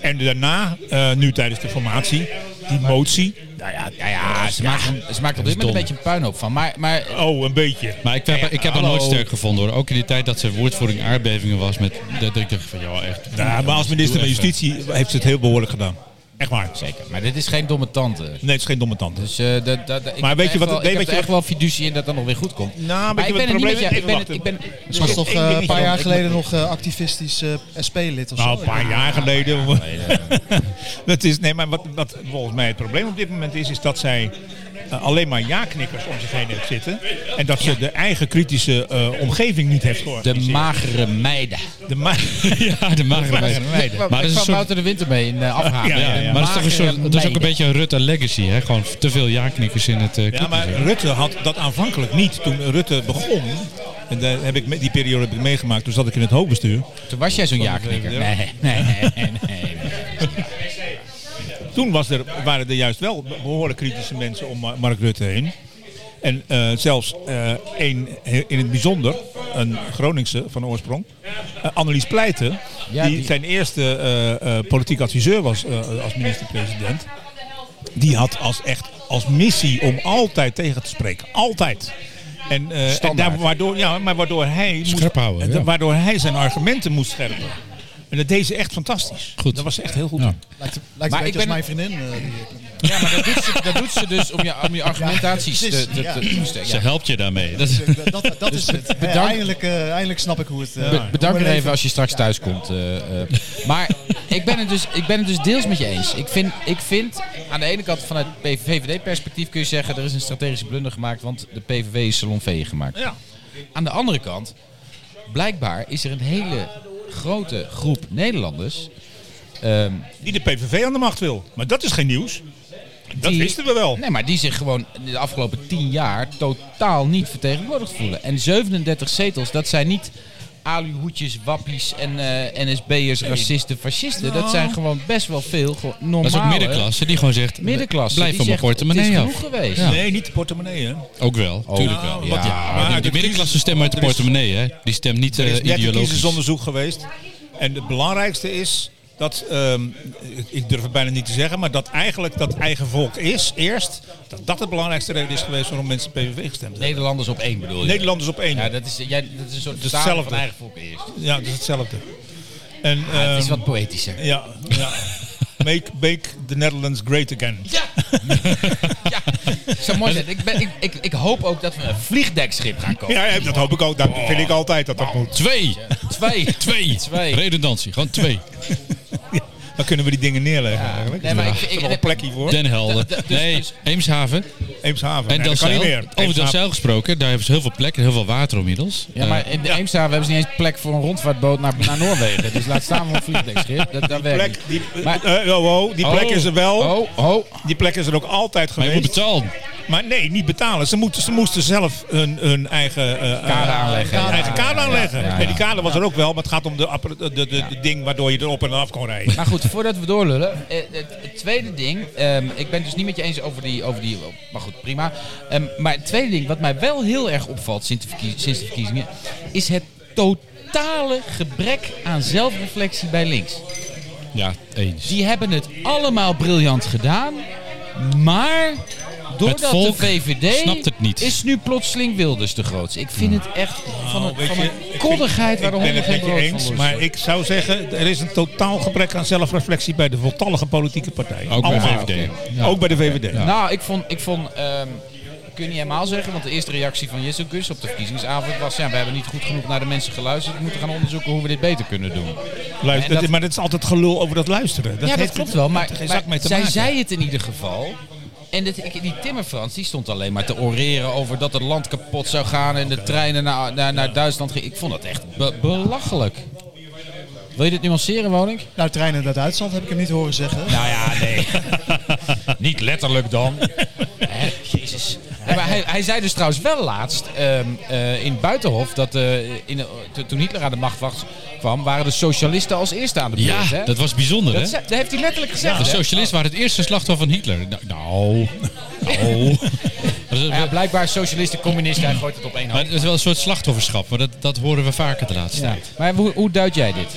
S3: En daarna, eh, nu tijdens de formatie, die motie. Nou ja, nou ja,
S1: Ze
S3: ja.
S1: maakt, ze maakt op dit moment
S2: dom.
S1: een beetje een puinhoop van. Maar, maar
S3: Oh, een beetje.
S2: Maar ik heb, ik heb haar
S3: Hallo.
S2: nooit sterk gevonden hoor. Ook in die tijd dat ze woordvoering aardbevingen was. Met, dat ik dacht van ja echt.
S3: Ja, Nou, maar als minister
S2: Doe
S3: van
S2: even.
S3: Justitie heeft ze het heel behoorlijk gedaan. Echt waar.
S1: zeker, maar dit is geen domme tante.
S3: Nee, het is geen domme tand.
S1: Dus eh, dat, dat, ik
S3: Maar
S1: heb er
S3: weet je
S1: echt
S3: wat-
S1: Wel, ik
S3: nee,
S1: heb
S3: weet
S1: er
S3: je
S1: echt wel fiducie in dat dat nog weer goed komt.
S3: Nou, weet
S1: maar
S3: je
S1: ik
S3: wat
S1: ben er
S3: het
S1: niet met
S3: probleem
S1: je. Ik
S3: is? Even
S1: ben, het-
S3: wachten.
S1: ik ben,
S4: ze was toch eh, een paar jaar geleden
S1: nog.
S4: nog eh, activistisch eh, SP-lid of
S3: Nou,
S4: zo.
S3: een paar jaar geleden. dat is, nee, maar wat, wat volgens mij het probleem op dit moment is, is dat zij eh, alleen maar ja-knikkers om zich heen heeft zitten. En dat ze de eigen kritische eh, omgeving niet heeft
S1: De
S3: georganiseerd.
S1: magere meiden.
S3: De ma-
S2: Ja, de magere meiden.
S1: Maar, ik
S2: Maar dat is een
S1: kwam
S2: soort
S1: Wouter de Winter mee in eh, afhaken.
S3: Ja, ja,
S2: Ja,
S3: ja.
S2: maar eh, dat is, toch een soort,
S1: Magere
S2: dat is ook een
S1: meiden.
S2: beetje een Rutte legacy, hè? Gewoon te veel ja-knikkers in het eh
S3: Ja, maar
S2: clubje.
S3: Rutte had dat aanvankelijk niet. Toen Rutte begon, en daar heb ik, me- die periode heb ik meegemaakt, toen zat ik in het hoofdbestuur.
S1: Toen was jij zo'n jaarknikker.
S3: Ja.
S1: Nee, nee, nee, nee.
S3: Toen was er, waren er juist wel be- behoorlijk kritische mensen om Ma- Mark Rutte heen. En eh, zelfs eh één he- in het bijzonder, een Groningse van oorsprong, eh, Annelies Pleiten,
S1: Ja,
S3: die,
S1: die-
S3: zijn eerste eh, eh, politiek adviseur was eh, als minister-president. Die had als echt als missie om altijd tegen te spreken. Altijd. En, eh, en
S1: Standaard.
S3: daar, waardoor, ja, maar waardoor hij,
S2: Scherp
S3: moest,
S2: houden,
S3: eh,
S2: ja.
S3: waardoor hij zijn argumenten moest scherpen. En dat deed ze echt fantastisch.
S2: Goed.
S3: Dat was ze echt heel goed.
S2: Ja.
S3: in.
S4: Lijkt, lijkt
S1: Maar
S4: een
S1: ik
S4: beetje als
S1: ben-
S4: mijn vriendin. eh, die-
S1: Ja, maar dat doet ze, dat doet ze dus om je, om je argumentaties
S4: Ja,
S1: te,
S4: precies,
S1: te, te,
S4: ja.
S1: te steken.
S2: Ze helpt je daarmee. Dat is-
S4: dat dat, dat is het. Hè,
S1: bedankt-
S4: Dus eindelijk, eh, eindelijk snap ik hoe het... eh,
S1: Be- bedank
S4: hoe
S1: er
S4: mijn
S1: even
S4: leven-
S1: als je straks thuis komt. eh, eh. Maar ik ben, het dus, ik ben het dus deels met je eens. Ik vind, ik vind aan de ene kant vanuit VVD-perspectief kun je zeggen... er is een strategische blunder gemaakt, want de PVV is salon V gemaakt.
S3: Ja.
S1: Aan de andere kant, blijkbaar is er een hele grote groep Nederlanders... ehm,
S3: Die de PVV aan de macht wil. Maar dat is geen nieuws. Dat
S1: die-
S3: wisten we wel.
S1: Nee, maar die zich gewoon de afgelopen tien jaar totaal niet vertegenwoordigd voelen. En 37 zetels, dat zijn niet aluhoedjes, wappies en eh, NSB'ers, racisten, fascisten.
S3: Nou.
S1: Dat zijn gewoon best wel veel gewoon normale...
S2: Dat is ook middenklasse die gewoon zegt,
S1: middenklasse.
S2: blijf
S1: die
S2: van mijn
S1: zegt,
S2: portemonnee
S1: Het is
S2: af.
S1: genoeg geweest.
S2: Ja.
S3: Nee, niet de portemonnee,
S1: Eh,
S3: hè?
S2: Ook wel, tuurlijk wel.
S3: Ah,
S2: Ja,
S3: wat- ja, maar
S2: die-
S3: de
S2: die middenklasse
S3: crisis-
S2: stemt uit de
S3: er is-
S2: portemonnee, hè. Die stemt niet
S3: Er
S2: eh,
S3: is net een
S2: ideologisch.
S3: kiezersonderzoek geweest. En het belangrijkste is dat, ehm, ik- ik durf het bijna niet te zeggen, maar dat eigenlijk dat eigen volk is, eerst, dat dat de belangrijkste reden is geweest waarom mensen PVV gestemd hebben.
S1: Nederlanders op één bedoel je?
S3: Nederlanders op één.
S1: Ja,
S3: Ja,
S1: dat is, jij, dat is een soort
S3: is
S1: vertaling van
S3: hetzelfde. Ehm.
S1: eigen volk eerst.
S3: dat is hetzelfde. En,
S1: het is
S3: ehm,
S1: wat poëtischer.
S3: Ja, ja. Make, make the Netherlands great again.
S1: Ja! ja, zou mooi zijn. Ik, ben, ik, ik, ik hoop ook dat we een vliegdekschip gaan kopen.
S3: Ja, ja, dat hoop ik ook. Dat
S1: Oh.
S3: vind ik altijd dat dat moet.
S2: Twee!
S1: Twee.
S2: Twee!
S1: Twee.
S2: Redundantie, gewoon twee.
S3: Dan kunnen we die dingen neerleggen eigenlijk.
S1: Nee, maar ik-
S3: Is er
S1: ik-
S3: nog een plekje voor?
S2: Den Helder.
S1: Dus- dus-
S2: Nee,
S1: dus-
S2: Eemshaven.
S3: Eemshaven.
S2: En
S3: Nee, dat kan
S2: Delzijl.
S3: niet
S1: Oh,
S3: meer.
S2: Over
S3: Eemshaven.
S2: Delzijl gesproken, daar hebben ze heel veel plek en heel veel water inmiddels. Eh,
S1: Eh, Ja, maar in de Eemshaven hebben ze niet eens plek voor een rondvaartboot naar, naar Noorwegen. Dus laat staan voor een vliegdekschip. Dat, dat werkt
S3: plek,
S1: niet.
S3: die,
S1: Maar-
S3: eh, eh, oh, oh, die plek
S1: Oh,
S3: is er wel.
S1: Oh, oh.
S3: Die plek is er ook altijd
S2: Maar je moet
S3: geweest.
S2: betalen.
S3: Maar nee, niet betalen. Ze, moeten, ze moesten zelf hun, hun eigen eh, eh,
S1: Kader aanleggen.
S3: hun
S1: Ja,
S3: eigen kader
S1: ja,
S3: aanleggen.
S1: ja, ja.
S3: Nee, die kader was er ook wel, maar het gaat om de, appara- de, de, de, de ding waardoor je erop en af kon rijden.
S1: Maar goed, voordat we doorlullen. eh, Het, het tweede ding. ehm, ik ben het dus niet met je eens over die. Over die maar goed, prima. Ehm, maar het tweede ding, wat mij wel heel erg opvalt sinds de, verkie- sinds de verkiezingen. is het totale gebrek aan zelfreflectie bij links.
S2: Ja, eens.
S1: Die hebben het allemaal briljant gedaan. Maar doordat
S2: Het volk
S1: de VVD
S2: snapt het niet.
S1: is nu plotseling Wilders de grootste. Ik vind het echt van een,
S3: Nou, weet
S1: van
S3: je,
S1: een
S3: ik vind-
S1: koddigheid waar
S3: Ik
S1: de
S3: ben
S1: honden
S3: het
S1: geen
S3: met je
S1: brood van
S3: eens,
S1: worden.
S3: maar ik zou zeggen, er is een totaal gebrek aan zelfreflectie bij de voltallige politieke partijen.
S2: Ook bij de
S3: Allemaal.
S2: VVD.
S3: Ja. Ook bij de VVD.
S1: Nou, ik vond... Ik vond ehm, kun je niet helemaal zeggen, want de eerste reactie van Jezus op de verkiezingsavond was... ja, we hebben niet goed genoeg naar de mensen geluisterd. We moeten gaan onderzoeken hoe we dit beter kunnen doen.
S3: Luister,
S1: En dat-
S3: maar dat is altijd gelul over dat luisteren.
S1: ja, dat
S3: heeft-
S1: klopt wel. Maar,
S3: heeft er geen
S1: maar
S3: zak mee te
S1: zij
S3: maken.
S1: zei het in ieder geval. En dat, ik- die Timmerfrans die stond alleen maar te oreren over dat het land kapot zou gaan en de treinen naar, naar, naar Duitsland gingen. Ik vond dat echt be- belachelijk. Wil je dit nuanceren, Woning?
S4: Nou, treinen naar Duitsland heb ik hem niet horen zeggen.
S1: Nou ja, nee. Niet letterlijk dan. Jezus. maar hij, hij zei dus trouwens wel laatst ehm, eh, in Buitenhof dat eh, in, de- to- toen Hitler aan de macht was- kwam, waren de socialisten als eerste aan de beurt.
S2: Ja,
S1: hè?
S2: dat was bijzonder, hè?
S1: Dat zei- dat heeft hij letterlijk gezegd.
S2: De
S1: hè?
S2: socialisten waren het eerste slachtoffer van Hitler. Nou, nou. nou. Dat is-
S1: Nou Ja, blijkbaar socialisten, communisten, hij gooit het op één
S2: Maar
S1: hand.
S2: het is wel een soort slachtofferschap, maar dat, dat horen we vaker de laatste
S1: Ja.
S2: tijd.
S1: Maar hoe, hoe duid jij dit?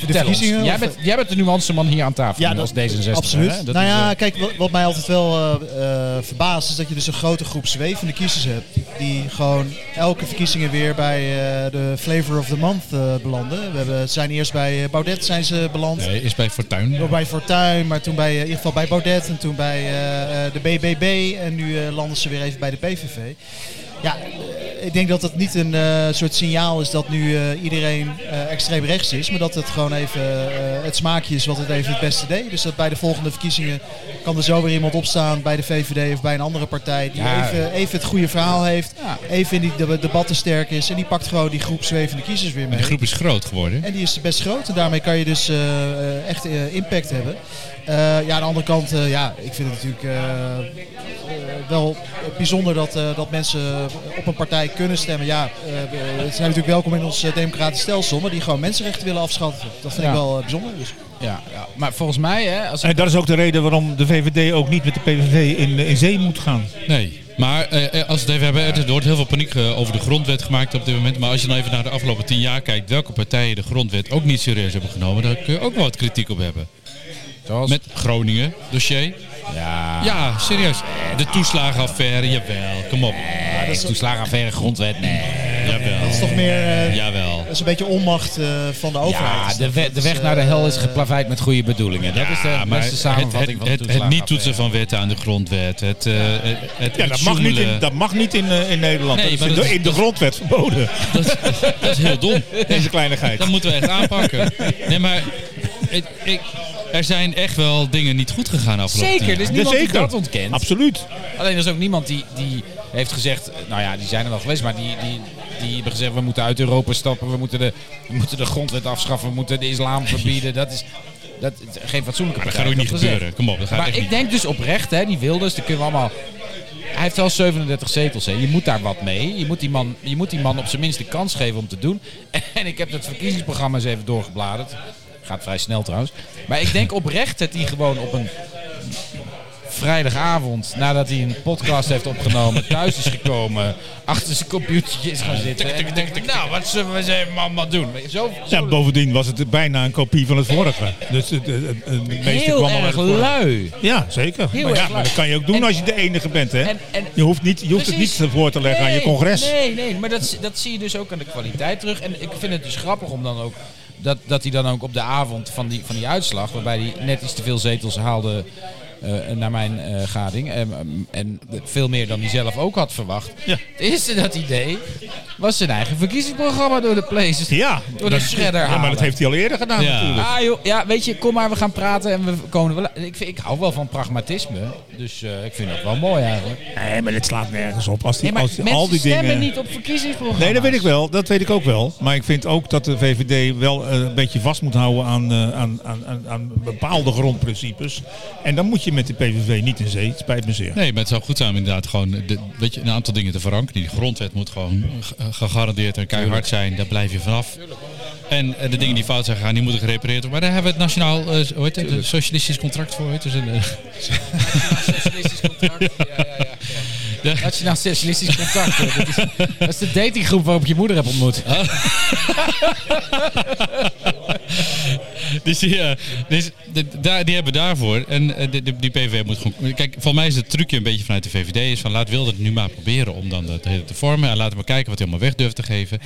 S4: de
S1: Vertel ons.
S4: verkiezingen?
S1: Jij
S4: of-
S1: bent, jij bent de nuanceman hier aan tafel
S4: Ja,
S1: nu als
S4: dat-
S1: D66.
S4: Absoluut.
S1: hè? Dat
S4: nou
S1: is,
S4: ja,
S1: eh,
S4: kijk, wat, wat mij altijd wel eh, eh, verbaast is dat je dus een grote groep zwevende kiezers hebt. Die gewoon elke verkiezingen weer bij eh, de Flavor of the Month eh, belanden. We hebben, zijn eerst bij eh, Baudet zijn ze beland.
S2: Nee, is bij Fortuin.
S4: Ehm, Nog bij Fortuin, maar toen bij, eh, in ieder geval bij Baudet en toen bij eh, eh, de BBB. En nu eh, landen ze weer even bij de PVV. Ja, eh, ik denk dat dat niet een eh, soort signaal is dat nu eh, iedereen eh, extreem rechts is. Maar dat het gewoon even eh, het smaakje is wat het even het beste deed. Dus dat bij de volgende verkiezingen kan er zo weer iemand opstaan bij de VVD of bij een andere partij. Die
S1: Ja.
S4: even, even het goede verhaal heeft.
S1: Ja.
S4: Even in die deb- debatten sterk is. En die pakt gewoon die groep zwevende kiezers weer mee.
S2: De groep is groot geworden.
S4: En die is best groot en daarmee kan je dus eh, eh, echt eh, impact hebben. Eh, ja, aan de andere kant, eh, ja, ik vind het natuurlijk eh, eh, wel bijzonder dat, eh, dat mensen op een partij kunnen stemmen. Ja, eh, eh, ze zijn natuurlijk welkom in ons eh, democratisch stelsel, maar die gewoon mensenrechten willen afschaffen. Dat vind
S1: Ja.
S4: ik wel eh, bijzonder. Dus.
S1: ja, ja. Maar volgens mij, hè, als
S3: En Eh, dat is ook de reden waarom de VVD ook niet met de PVV in, eh, in zee moet gaan.
S2: Nee. Maar eh, eh, als we het even hebben, er wordt heel veel paniek eh, over de grondwet gemaakt op dit moment. Maar als je dan even naar de afgelopen tien jaar kijkt, welke partijen de grondwet ook niet serieus hebben genomen, daar kun je ook wel wat kritiek op hebben.
S1: zoals,
S2: Met Groningen dossier.
S1: ja,
S2: Ja, serieus. De toeslagenaffaire, jawel. Kom op.
S1: toeslagenaffaire, grondwet, nee.
S4: Dat is
S2: Jawel.
S4: toch meer eh,
S2: Jawel.
S4: dat is een beetje onmacht eh, van de overheid.
S1: Ja,
S4: Is
S1: de,
S4: dat?
S1: we-
S4: Dat
S1: de
S4: is,
S1: weg naar de hel is
S4: eh,
S1: geplaveid met goede bedoelingen. Dat is de
S2: Ja, maar
S1: beste samenvatting
S2: het,
S1: van de
S2: het, het niet
S1: toeslagenaffaire.
S2: toetsen van wetten aan de grondwet. Het, eh, het, het-
S3: Ja,
S2: het
S3: dat mag niet in,
S2: zoemelen.
S3: dat mag niet in, eh, in Nederland.
S2: Nee,
S3: dat
S2: maar
S3: is in,
S2: dat
S3: de,
S2: is-
S3: in de grondwet verboden,
S2: Dat, dat is heel dom.
S3: deze kleinigheid.
S2: Dat moeten we echt aanpakken. Nee, maar ik, ik, er zijn echt wel dingen niet goed gegaan afgelopen
S1: Zeker, dus- er is
S2: tien jaar.
S1: niemand die
S3: Jazeker.
S1: dat ontkent.
S3: Absoluut.
S1: Alleen er is ook niemand die, die heeft gezegd, eh, nou ja, die zijn er wel geweest, maar die, die, die hebben gezegd we moeten uit Europa stappen, we moeten de, we moeten de grondwet afschaffen, we moeten de islam verbieden. Dat is, Dat, geen fatsoenlijke
S2: Maar dat
S1: partij
S2: gaat
S1: heeft
S2: ook niet
S1: dat gezegd.
S2: gebeuren. Kom op, dat gaat
S1: Maar
S2: echt
S1: ik
S2: niet.
S1: denk dus oprecht, hè, die Wilders, daar kunnen we allemaal... Hij heeft wel 37 zetels, hè. Je moet daar wat mee. Je moet, die man, je moet die man op zijn minst de kans geven om te doen. En ik heb dat verkiezingsprogramma eens even doorgebladerd. Gaat vrij snel trouwens. Maar ik denk oprecht dat hij gewoon op een vrijdagavond, nadat hij een podcast heeft opgenomen, thuis is gekomen, achter zijn computertje is gaan zitten. En denkt, nou, wat zullen we ze allemaal doen? Zo,
S3: Ja, bovendien was het bijna een kopie van het vorige. Dus het, het, het- het meeste
S1: heel
S3: kwam al uit het
S1: erg
S3: vorige.
S1: lui.
S3: Ja, zeker.
S1: Heel
S3: maar, ja,
S1: erg
S3: maar dat kan je ook doen
S1: En-
S3: als je de enige bent. Hè?
S1: en- en-
S3: je hoeft, niet, je hoeft het niet
S1: Precies.
S3: voor te leggen aan je
S1: Nee,
S3: congres.
S1: Nee, nee, maar dat, dat zie je dus ook aan de kwaliteit terug. En ik vind het dus grappig om dan ook. Dat, dat hij dan ook op de avond van die, van die uitslag, waarbij hij net iets te veel zetels haalde eh, naar mijn eh, gading. En, en veel meer dan hij zelf ook had verwacht.
S3: Ja.
S1: Het eerste dat hij deed, was zijn eigen verkiezingsprogramma door de places.
S3: Ja,
S1: Door de shredder
S3: ja, maar dat
S1: halen.
S3: heeft hij al eerder gedaan
S2: Ja.
S3: natuurlijk.
S1: Ah joh, ja, weet je, kom maar, we gaan praten en we komen wel... Ik, vind, ik hou wel van pragmatisme, dus eh, ik vind dat wel mooi eigenlijk.
S3: Nee, maar dit slaat nergens op. Als die,
S1: Nee, maar
S3: als die-
S1: mensen
S3: al die
S1: stemmen
S3: dingen...
S1: niet op verkiezingsprogramma's.
S3: Nee, dat weet ik wel. Dat weet ik ook wel. Maar ik vind ook dat de VVD wel eh, een beetje vast moet houden aan, eh, aan, aan, aan, aan bepaalde grondprincipes. En dan moet je met de PVV niet in zee. Het spijt me zeer.
S2: Nee, maar het zou goed zijn om inderdaad gewoon de, weet je, een aantal dingen te verankeren. Die grondwet moet gewoon ge- gegarandeerd en keihard zijn. Daar blijf je vanaf. En eh, de dingen die fout zijn gegaan, die moeten gerepareerd worden. Maar daar hebben we het nationaal eh, hoe heet het, een socialistisch contract voor. hoe heet het, dus een, eh,
S1: Socialistisch contract. Ja, ja, ja.
S2: Ja.
S1: Nationaal Socialistisch Contact. hè. Dat is, dat is de datinggroep waarop ik je moeder heb ontmoet.
S2: Dus die, eh, dus de- daar, die hebben daarvoor. En eh, de- de- die PVV moet gewoon... Kijk, voor mij is het trucje een beetje vanuit de VVD. Is van laat Wilders het nu maar proberen om dan dat hele te vormen. En laten we kijken wat hij allemaal weg durft te geven.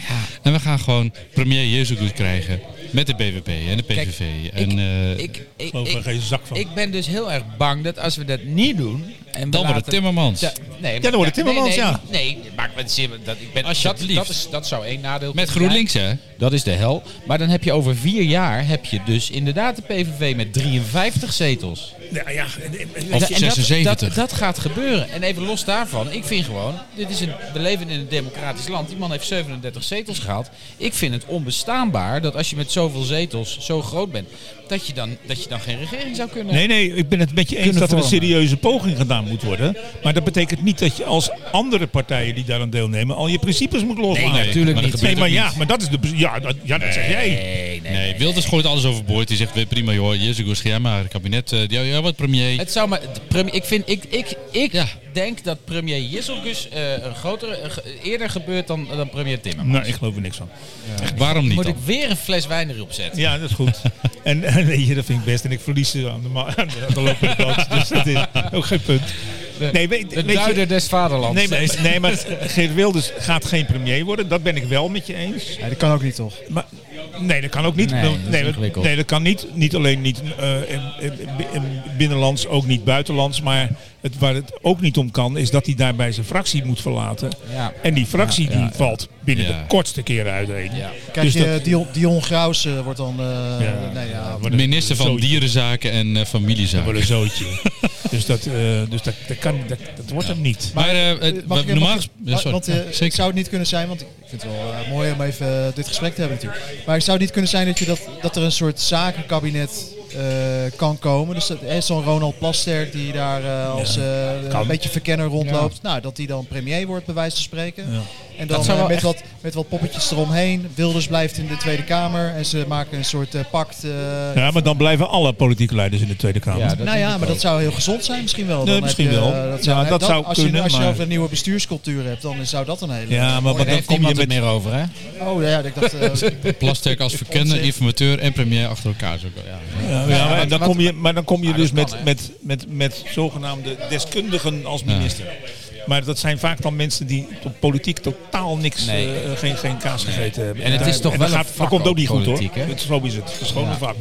S2: En we gaan gewoon premier Jezus krijgen. Met de BWP en de PVV. en, eh,
S1: ik, ik,
S3: geloof er
S1: ik-
S3: geen zak van.
S1: Ik ben dus heel erg bang dat als we dat niet doen... En we
S2: Dan wordt het
S1: laten-
S2: Timmermans.
S1: Ja, nee, maar-
S3: dan wordt het
S1: nee,
S3: Timmermans,
S1: nee,
S3: ja.
S1: Nee, maar ik ben zin- dat, ik ben, dat,
S2: Alsjeblieft.
S1: dat, is, dat zou één nadeel
S2: met
S1: kunnen
S2: GroenLinks, hè?
S1: zijn. Dat is de hel. Maar dan heb je over vier jaar heb je dus inderdaad de PVV met 53 zetels.
S3: Ja, ja, en- en-
S2: Of
S1: en dat-
S2: 76.
S1: Dat, dat, gaat gebeuren. En even los daarvan, ik vind gewoon, dit is een, we leven in een democratisch land. Die man heeft 37 zetels gehaald. Ik vind het onbestaanbaar dat als je met zoveel zetels zo groot bent, dat je dan, dat je dan geen regering zou kunnen.
S3: Nee, nee, ik ben het met je eens
S1: Kunnen
S3: dat er een
S1: vormen.
S3: serieuze poging gedaan moet worden. Maar dat betekent niet dat je als andere partijen die daaraan deelnemen al je principes moet loslaten.
S1: Nee, natuurlijk
S2: maar dat
S1: niet.
S2: gebeurt
S3: Nee, maar
S2: ook
S3: ja,
S2: niet.
S3: maar dat is de. Ja, dat, ja, dat zeg jij.
S1: Nee, nee.
S2: Nee, Wilders gooit alles overboord. Die zegt, weer prima joh, Jezus, ga jij maar. Het kabinet, eh, ja, ja, wat premier.
S1: Het zou maar, de premier, ik vind, ik, ik, ik denk dat premier Jisselgus eh, een grotere, een ge- eerder gebeurt dan, dan premier Timmer.
S3: Nou, ik geloof er niks van.
S2: Waarom niet
S1: Moet
S2: dan?
S1: ik weer een fles wijn erop zetten?
S3: Ja, dat is goed. en en weet je, dat vind ik best. En ik verlies ze aan de, ma- aan de, aan de lopende band. Dus dat is ook geen punt. Nee, weet,
S1: De
S3: weet je-
S1: duider des vaderlands.
S3: Nee, maar, nee, maar Geert Wilders gaat geen premier worden. Dat ben ik wel met je eens.
S4: Ja, dat kan ook niet, toch?
S3: Maar, nee, dat kan ook niet.
S1: Nee, dat is
S3: nee,
S1: ingewikkeld.
S3: nee, dat kan niet. Niet alleen niet eh, in- in- in- binnenlands, ook niet buitenlands. Maar het, waar het ook niet om kan, is dat hij daarbij zijn fractie moet verlaten.
S1: Ja.
S3: En die fractie die valt binnen
S2: Ja.
S3: de kortste keren uiteen.
S1: Ja. eh,
S4: Kijk,
S3: Dus
S4: je,
S3: dat-
S4: Dion, Dion Graus eh, wordt dan... eh,
S3: Ja.
S4: nee, ja,
S3: Wordt een
S2: Minister van
S3: zootje.
S2: Dierenzaken en eh, Familiezaken.
S3: Wordt een zootje. dus dat, eh, dus dat, dat, kan, dat, dat wordt hem niet.
S2: Maar, eh, het-
S4: Mag ik-
S2: wat
S4: mag ik-
S2: normaal
S4: mag-
S2: gesproken- ja, sorry.
S4: want eh,
S2: Ja,
S4: ik
S2: zeker.
S4: zou het niet kunnen zijn, want ik vind het wel eh, mooi om even eh, dit gesprek te hebben natuurlijk. Maar ik zou het niet kunnen zijn dat, je dat, dat er een soort zakenkabinet eh, kan komen. Dus dat eh, zo'n Ronald Plasterk die daar eh, als eh,
S3: kan.
S4: een beetje verkenner rondloopt. Nou, dat die dan premier wordt bij wijze van spreken. En dan
S1: Dat zou
S4: eh,
S1: wel
S4: met,
S1: echt-
S4: wat, met wat poppetjes eromheen. Wilders blijft in de Tweede Kamer en ze maken een soort eh, pact. eh,
S3: Ja, maar dan blijven alle politieke leiders in de Tweede Kamer.
S1: Ja, dat-
S4: nou
S1: denk
S4: ja,
S1: ik
S4: maar
S1: ook.
S4: dat zou heel gezond zijn misschien wel.
S3: Nee,
S4: Dan heb
S3: misschien
S4: je,
S3: wel.
S4: eh, Dat
S3: Ja,
S4: zou,
S3: dat
S4: dat-
S3: zou
S4: als je,
S3: kunnen,
S4: Als je
S3: maar-
S4: over een nieuwe bestuurscultuur hebt, dan zou dat een hele...
S3: Ja, maar wat
S1: Daar
S3: dan
S1: heeft
S3: kom je
S1: niemand het
S3: met...
S1: meer over, hè?
S4: Oh ja, ik dacht... eh,
S2: Plasterk als verkenner,
S4: Onzin.
S2: informateur en premier achter elkaar. Zo, ja.
S3: Ja, ja, maar, dan kom je, maar dan kom je
S1: Maar
S3: dus
S1: dat
S3: met,
S1: kan, hè?
S3: met, met, met zogenaamde deskundigen als minister. Maar dat zijn vaak dan mensen die op politiek totaal niks,
S1: Nee.
S3: eh, geen, geen kaas gegeten hebben.
S1: En het is toch
S3: dat
S1: wel een
S3: gaat-
S1: vak
S3: Dat komt ook
S1: ook,
S3: niet goed hoor.
S1: politiek, hè?
S3: Het, zo is het. Het is gewoon een vak.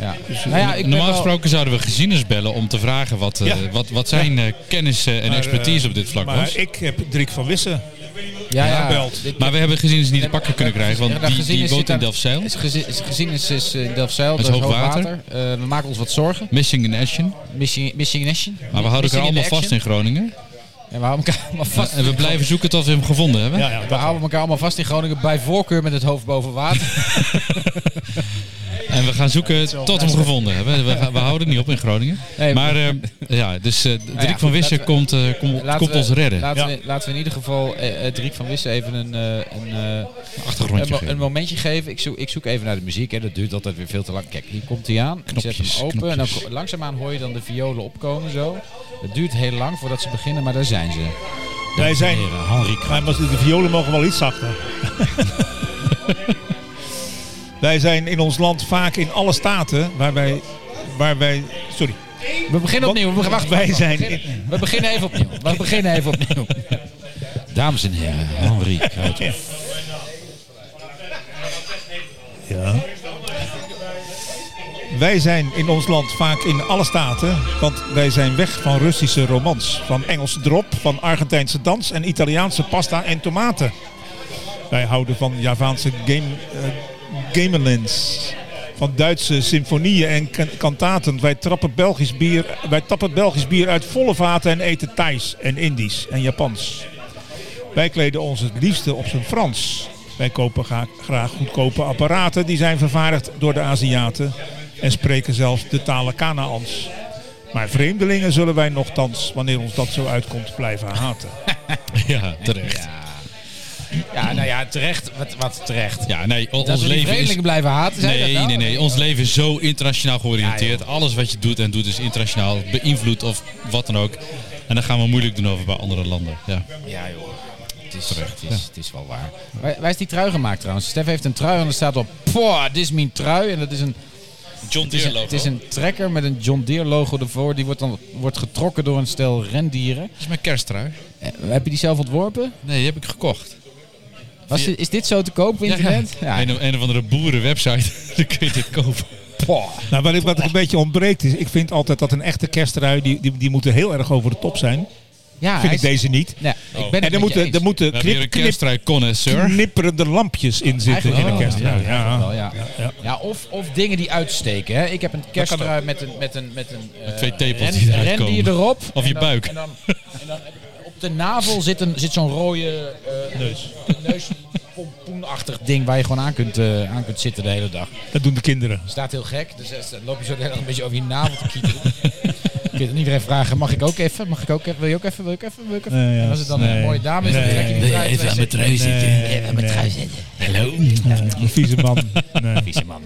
S1: Ja. Nou ja, ik ben
S2: Normaal
S1: wel-
S2: gesproken zouden we gezieners bellen om te vragen wat, eh,
S3: Ja.
S2: wat, wat zijn eh, kennis eh, en
S3: Maar,
S2: expertise
S3: eh,
S2: op dit vlak
S3: Maar
S2: was.
S3: ik heb Driek van Wissen.
S1: ja, ja,
S3: aanbelt.
S1: Dit-
S2: Maar we hebben gezieners niet te pakken kunnen krijgen,
S1: Ja,
S2: want
S1: dat
S2: die,
S1: gezin
S2: die
S1: is-
S2: woont in
S1: daar-
S2: Delfzijl.
S1: is gezin, is, gezin is, is eh, Delfzijl, dat is
S2: hoog
S1: hoogwater.
S2: water.
S1: Eh, we maken ons wat zorgen.
S2: Missing in Action.
S1: Missing, missing in action.
S2: Maar we houden elkaar
S1: Missing
S2: allemaal
S1: in
S2: vast
S1: action.
S2: in Groningen.
S1: Ja, we houden elkaar allemaal vast.
S2: En we blijven zoeken tot we hem gevonden hebben.
S3: Ja, ja,
S1: We
S3: dat,
S1: houden elkaar allemaal vast in Groningen. Bij voorkeur met het hoofd boven water.
S2: En we gaan zoeken tot we hem gevonden hebben. We, we houden niet op in Groningen.
S1: Nee,
S2: maar eh, ja, dus eh Dirk
S1: goed,
S2: van Wissen
S1: laten we-
S2: komt, eh, kom-
S1: Laten
S2: komt
S1: we-
S2: ons redden.
S1: Laten, we, laten we in ieder geval eh eh, Driek van Wissen even een, eh, een, eh,
S2: Een
S1: een,
S2: achtergrondje
S1: mo-
S2: geven.
S1: een momentje geven. Ik zoek, ik zoek even naar de muziek. Hè. Dat duurt altijd weer veel te lang. Kijk, hier komt hij aan. ik zet
S2: Knopjes,
S1: hem open. En dan
S2: knopjes.
S1: ko- langzaamaan hoor je dan de violen opkomen zo. Het duurt heel lang voordat ze beginnen, maar daar zijn ze.
S3: Wij zijn...
S2: Heren, Henri Krap.
S3: Maar de violen mogen wel iets zachter. wij zijn in ons land vaak in alle staten waar wij... Waar wij sorry.
S1: We beginnen
S3: Wat-
S1: opnieuw. We, wacht,
S3: wij
S1: wacht,
S3: zijn
S1: We beginnen, we beginnen even opnieuw. We beginnen even opnieuw. Dames en heren, Henri Kruijthof.
S3: Ja. Wij zijn in ons land vaak in alle staten, want wij zijn weg van Russische romans, van Engelse drop, van Argentijnse dans en Italiaanse pasta en tomaten. Wij houden van Javaanse game, eh, gamelins, van Duitse symfonieën en kan- kantaten. Wij, trappen Belgisch bier, wij tappen Belgisch bier uit volle vaten en eten Thais en Indisch en Japans. Wij kleden ons het liefste op zijn Frans. Wij kopen ga- graag goedkope apparaten die zijn vervaardigd door de Aziaten en spreken zelfs de talen Kanaans. Maar vreemdelingen zullen wij nogthans, wanneer ons dat zo uitkomt, blijven haten.
S2: Ja, terecht.
S1: Ja, nou ja, terecht. Wat, wat terecht.
S2: Ja, nee, on-
S1: Dat
S2: ons
S1: we die
S2: leven is...
S1: vreemdelingen blijven haten, zei dat
S2: Nee,
S1: nou?
S2: nee, nee. Ons leven is zo internationaal georiënteerd. Alles wat je doet en doet is internationaal beïnvloed of wat dan ook. En dan gaan we moeilijk doen over bij andere landen. Ja.
S1: Ja, joh. Het is, het is, het is wel waar. Waar, waar is die trui gemaakt trouwens? Stef heeft een trui en er staat op... Poh, dit is mijn trui. En dat is een,
S2: John
S1: het is een, het is een trekker met een John Deere logo ervoor. Die wordt dan wordt getrokken door een stel rendieren.
S2: is mijn kersttrui.
S1: Eh, heb je die zelf ontworpen?
S2: Nee, die heb ik gekocht.
S1: Was, dit- is dit zo te koop op internet? Ja.
S2: Een, of- een of andere boerenwebsite. dan kun je dit kopen.
S1: Poh.
S3: Nou, wat, ik, wat ik een beetje ontbreekt is, ik vind altijd dat een echte kerstrui, die, die, die moeten heel erg over de top zijn.
S1: Ja,
S3: Vind
S1: hij
S3: ik
S1: is-
S3: deze niet.
S1: Nee, ik ben
S3: En
S1: het
S3: er
S1: met je
S3: moeten,
S1: eens.
S3: er moeten
S2: We hebben hier een
S3: knip, knip,
S2: kersttrui connoisseur.
S3: knipperende lampjes in zitten in
S1: Eigenlijk
S3: een
S1: wel,
S3: kerstrui.
S1: ja, eigenlijk
S3: Ja,
S1: wel, ja.
S3: ja.
S1: Ja, of, of dingen die uitsteken. Hè. Ik heb een kerstrui met een, met een, met een eh,
S2: twee tepels
S1: ren-
S2: die eruit
S1: ren
S2: komen.
S1: erop.
S2: Of
S1: En
S2: je
S1: dan-
S2: buik.
S1: En dan, en dan op de navel zit, een, zit zo'n rode eh neus. neuspompoenachtig ding waar je gewoon aan kunt, eh, aan kunt zitten de hele dag.
S3: Dat doen de kinderen.
S1: Staat heel gek, dus eh, dan loop je zo de hele dag een beetje over je navel te kietelen. Je kunt aan iedereen vragen, mag ik ook even? Mag ik ook even? Wil je ook even? Wil ik even? Wil ik even?
S3: Nee, ja.
S1: En als het dan een
S3: Nee.
S1: mooie dame is, dan
S3: Nee.
S1: trek je die trui twee zitten.
S2: trui
S3: Nee, nee.
S2: Hallo.
S3: Een vieze man.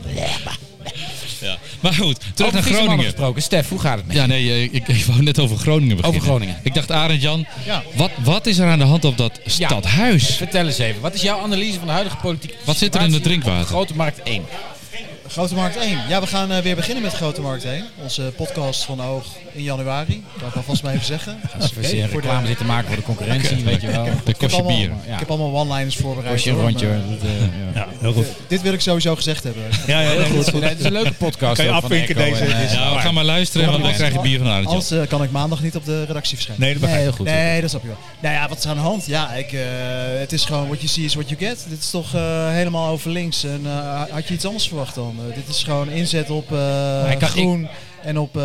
S3: Nee.
S2: Ja. Maar goed, terug
S1: Over Friese
S2: naar
S1: mannen
S2: Groningen.
S1: gesproken. Stef, hoe gaat het met je?
S2: Ja, nee, eh, ik, ik wou net over Groningen beginnen.
S1: Over Groningen.
S2: Ik dacht, Arend Jan,
S4: Ja.
S2: wat, wat is er aan de hand op dat stadhuis?
S1: Vertel eens even, wat is jouw analyse van de huidige politiek?
S2: Wat zit er in het drinkwater?
S1: Grote Markt 1.
S4: Grote Markt 1. Ja, we gaan eh, weer beginnen met Grote Markt 1. Onze podcast van Oog in januari. Dat kan ik alvast maar even zeggen.
S1: Als we
S4: Oké,
S1: zeer
S4: voor de-
S1: reclame zitten maken voor de concurrentie, weet je wel.
S2: Dat
S4: Ik
S2: kost
S4: heb,
S2: je
S4: allemaal,
S2: bier.
S1: Ja.
S4: ik heb allemaal one-liners voorbereid.
S1: Als je een
S4: hoor,
S1: rondje...
S4: maar
S1: hoor. Dat, eh, ja.
S3: Ja, heel goed.
S4: Dit wil ik sowieso gezegd hebben.
S3: Ja, ja, nee, dat is
S1: Nee,
S3: goed.
S1: het is een leuke podcast.
S3: Kan je
S1: ook van
S3: afvinken
S1: Echo
S3: deze?
S1: en, eh,
S3: Dit is-
S2: Ja, we gaan maar luisteren, want dan krijg je bier van Arend Jan.
S4: Anders eh, kan ik maandag niet op de redactie verschijnen.
S3: Nee, dat
S1: nee,
S3: begrijp ik.
S1: heel goed.
S4: Nee, dat snap je wel. Nou ja, wat is er aan de hand? Ja, ik, eh, het is gewoon what you see is what you get. Dit is toch eh, helemaal over links. En eh, had je iets anders verwacht dan? Eh, dit is gewoon inzet op eh,
S1: ik kan-
S4: groen en, op, eh,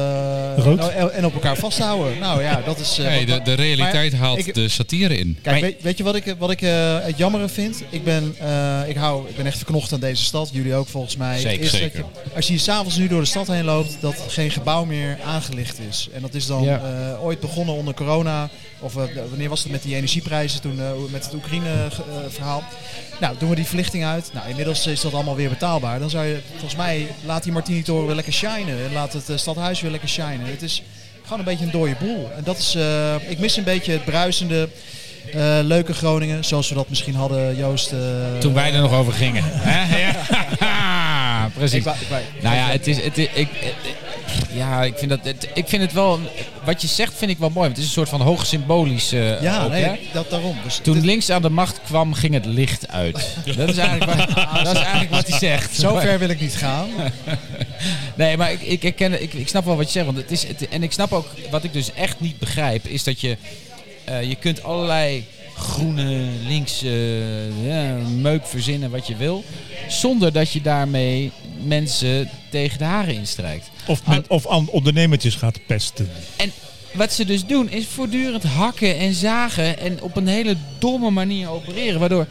S3: Rood?
S4: nou, en- en op elkaar vasthouden. Nou ja, dat is... eh,
S2: Nee,
S4: wat-
S2: de, de realiteit
S4: Maar
S2: haalt
S4: ik-
S2: de satire in.
S4: Kijk,
S1: Maar-
S4: weet, weet je wat ik, wat ik eh, het jammere vind? Ik ben, eh, ik, hou, ik ben echt verknocht aan deze stad. Jullie ook volgens mij.
S1: Zeker,
S4: Is dat
S2: zeker.
S4: je- als je hier s'avonds nu door de stad heen loopt, dat geen gebouw meer aangelicht is. En dat is dan
S1: Ja.
S4: eh, ooit begonnen onder corona. Of eh, wanneer was het met die energieprijzen toen, eh, met het Oekraïne-verhaal. nou, doen we die verlichting uit. Nou, inmiddels is dat allemaal weer betaalbaar. Dan zou je, volgens mij, laat die Martini-toren weer lekker shinen. En laat het eh, stadhuis weer lekker shinen. Het is gewoon een beetje een dode boel. En dat is, eh, ik mis een beetje het bruisende, eh, leuke Groningen. Zoals we dat misschien hadden, Joost. eh,
S1: Toen wij er nog over gingen. Hè? Ja.
S4: ik
S1: Precies.
S4: wou- ik wou-
S1: Nou ja, het is. Het is- ik, eh, eh, ja, ik vind, dat, het- ik vind het wel. Wat je zegt vind ik wel mooi. want Het is een soort van hoog symbolisch. eh,
S4: ja,
S1: ook, hè?
S4: nee, dat daarom. Dus
S1: Toen
S4: dit-
S1: links aan de macht kwam, ging het licht uit. Dat is eigenlijk wat, dat is eigenlijk wat hij zegt.
S4: zo ver wil ik niet gaan.
S1: Nee, maar ik, ik, herken, ik, ik snap wel wat je zegt. Want het is, het, en ik snap ook, wat ik dus echt niet begrijp, is dat je... eh, je kunt allerlei groene, linkse eh, ja, meuk verzinnen wat je wil. Zonder dat je daarmee mensen tegen de haren instrijkt.
S3: Of, men- of aan ondernemertjes gaat pesten.
S1: En wat ze dus doen is voortdurend hakken en zagen en op een hele domme manier opereren. Waardoor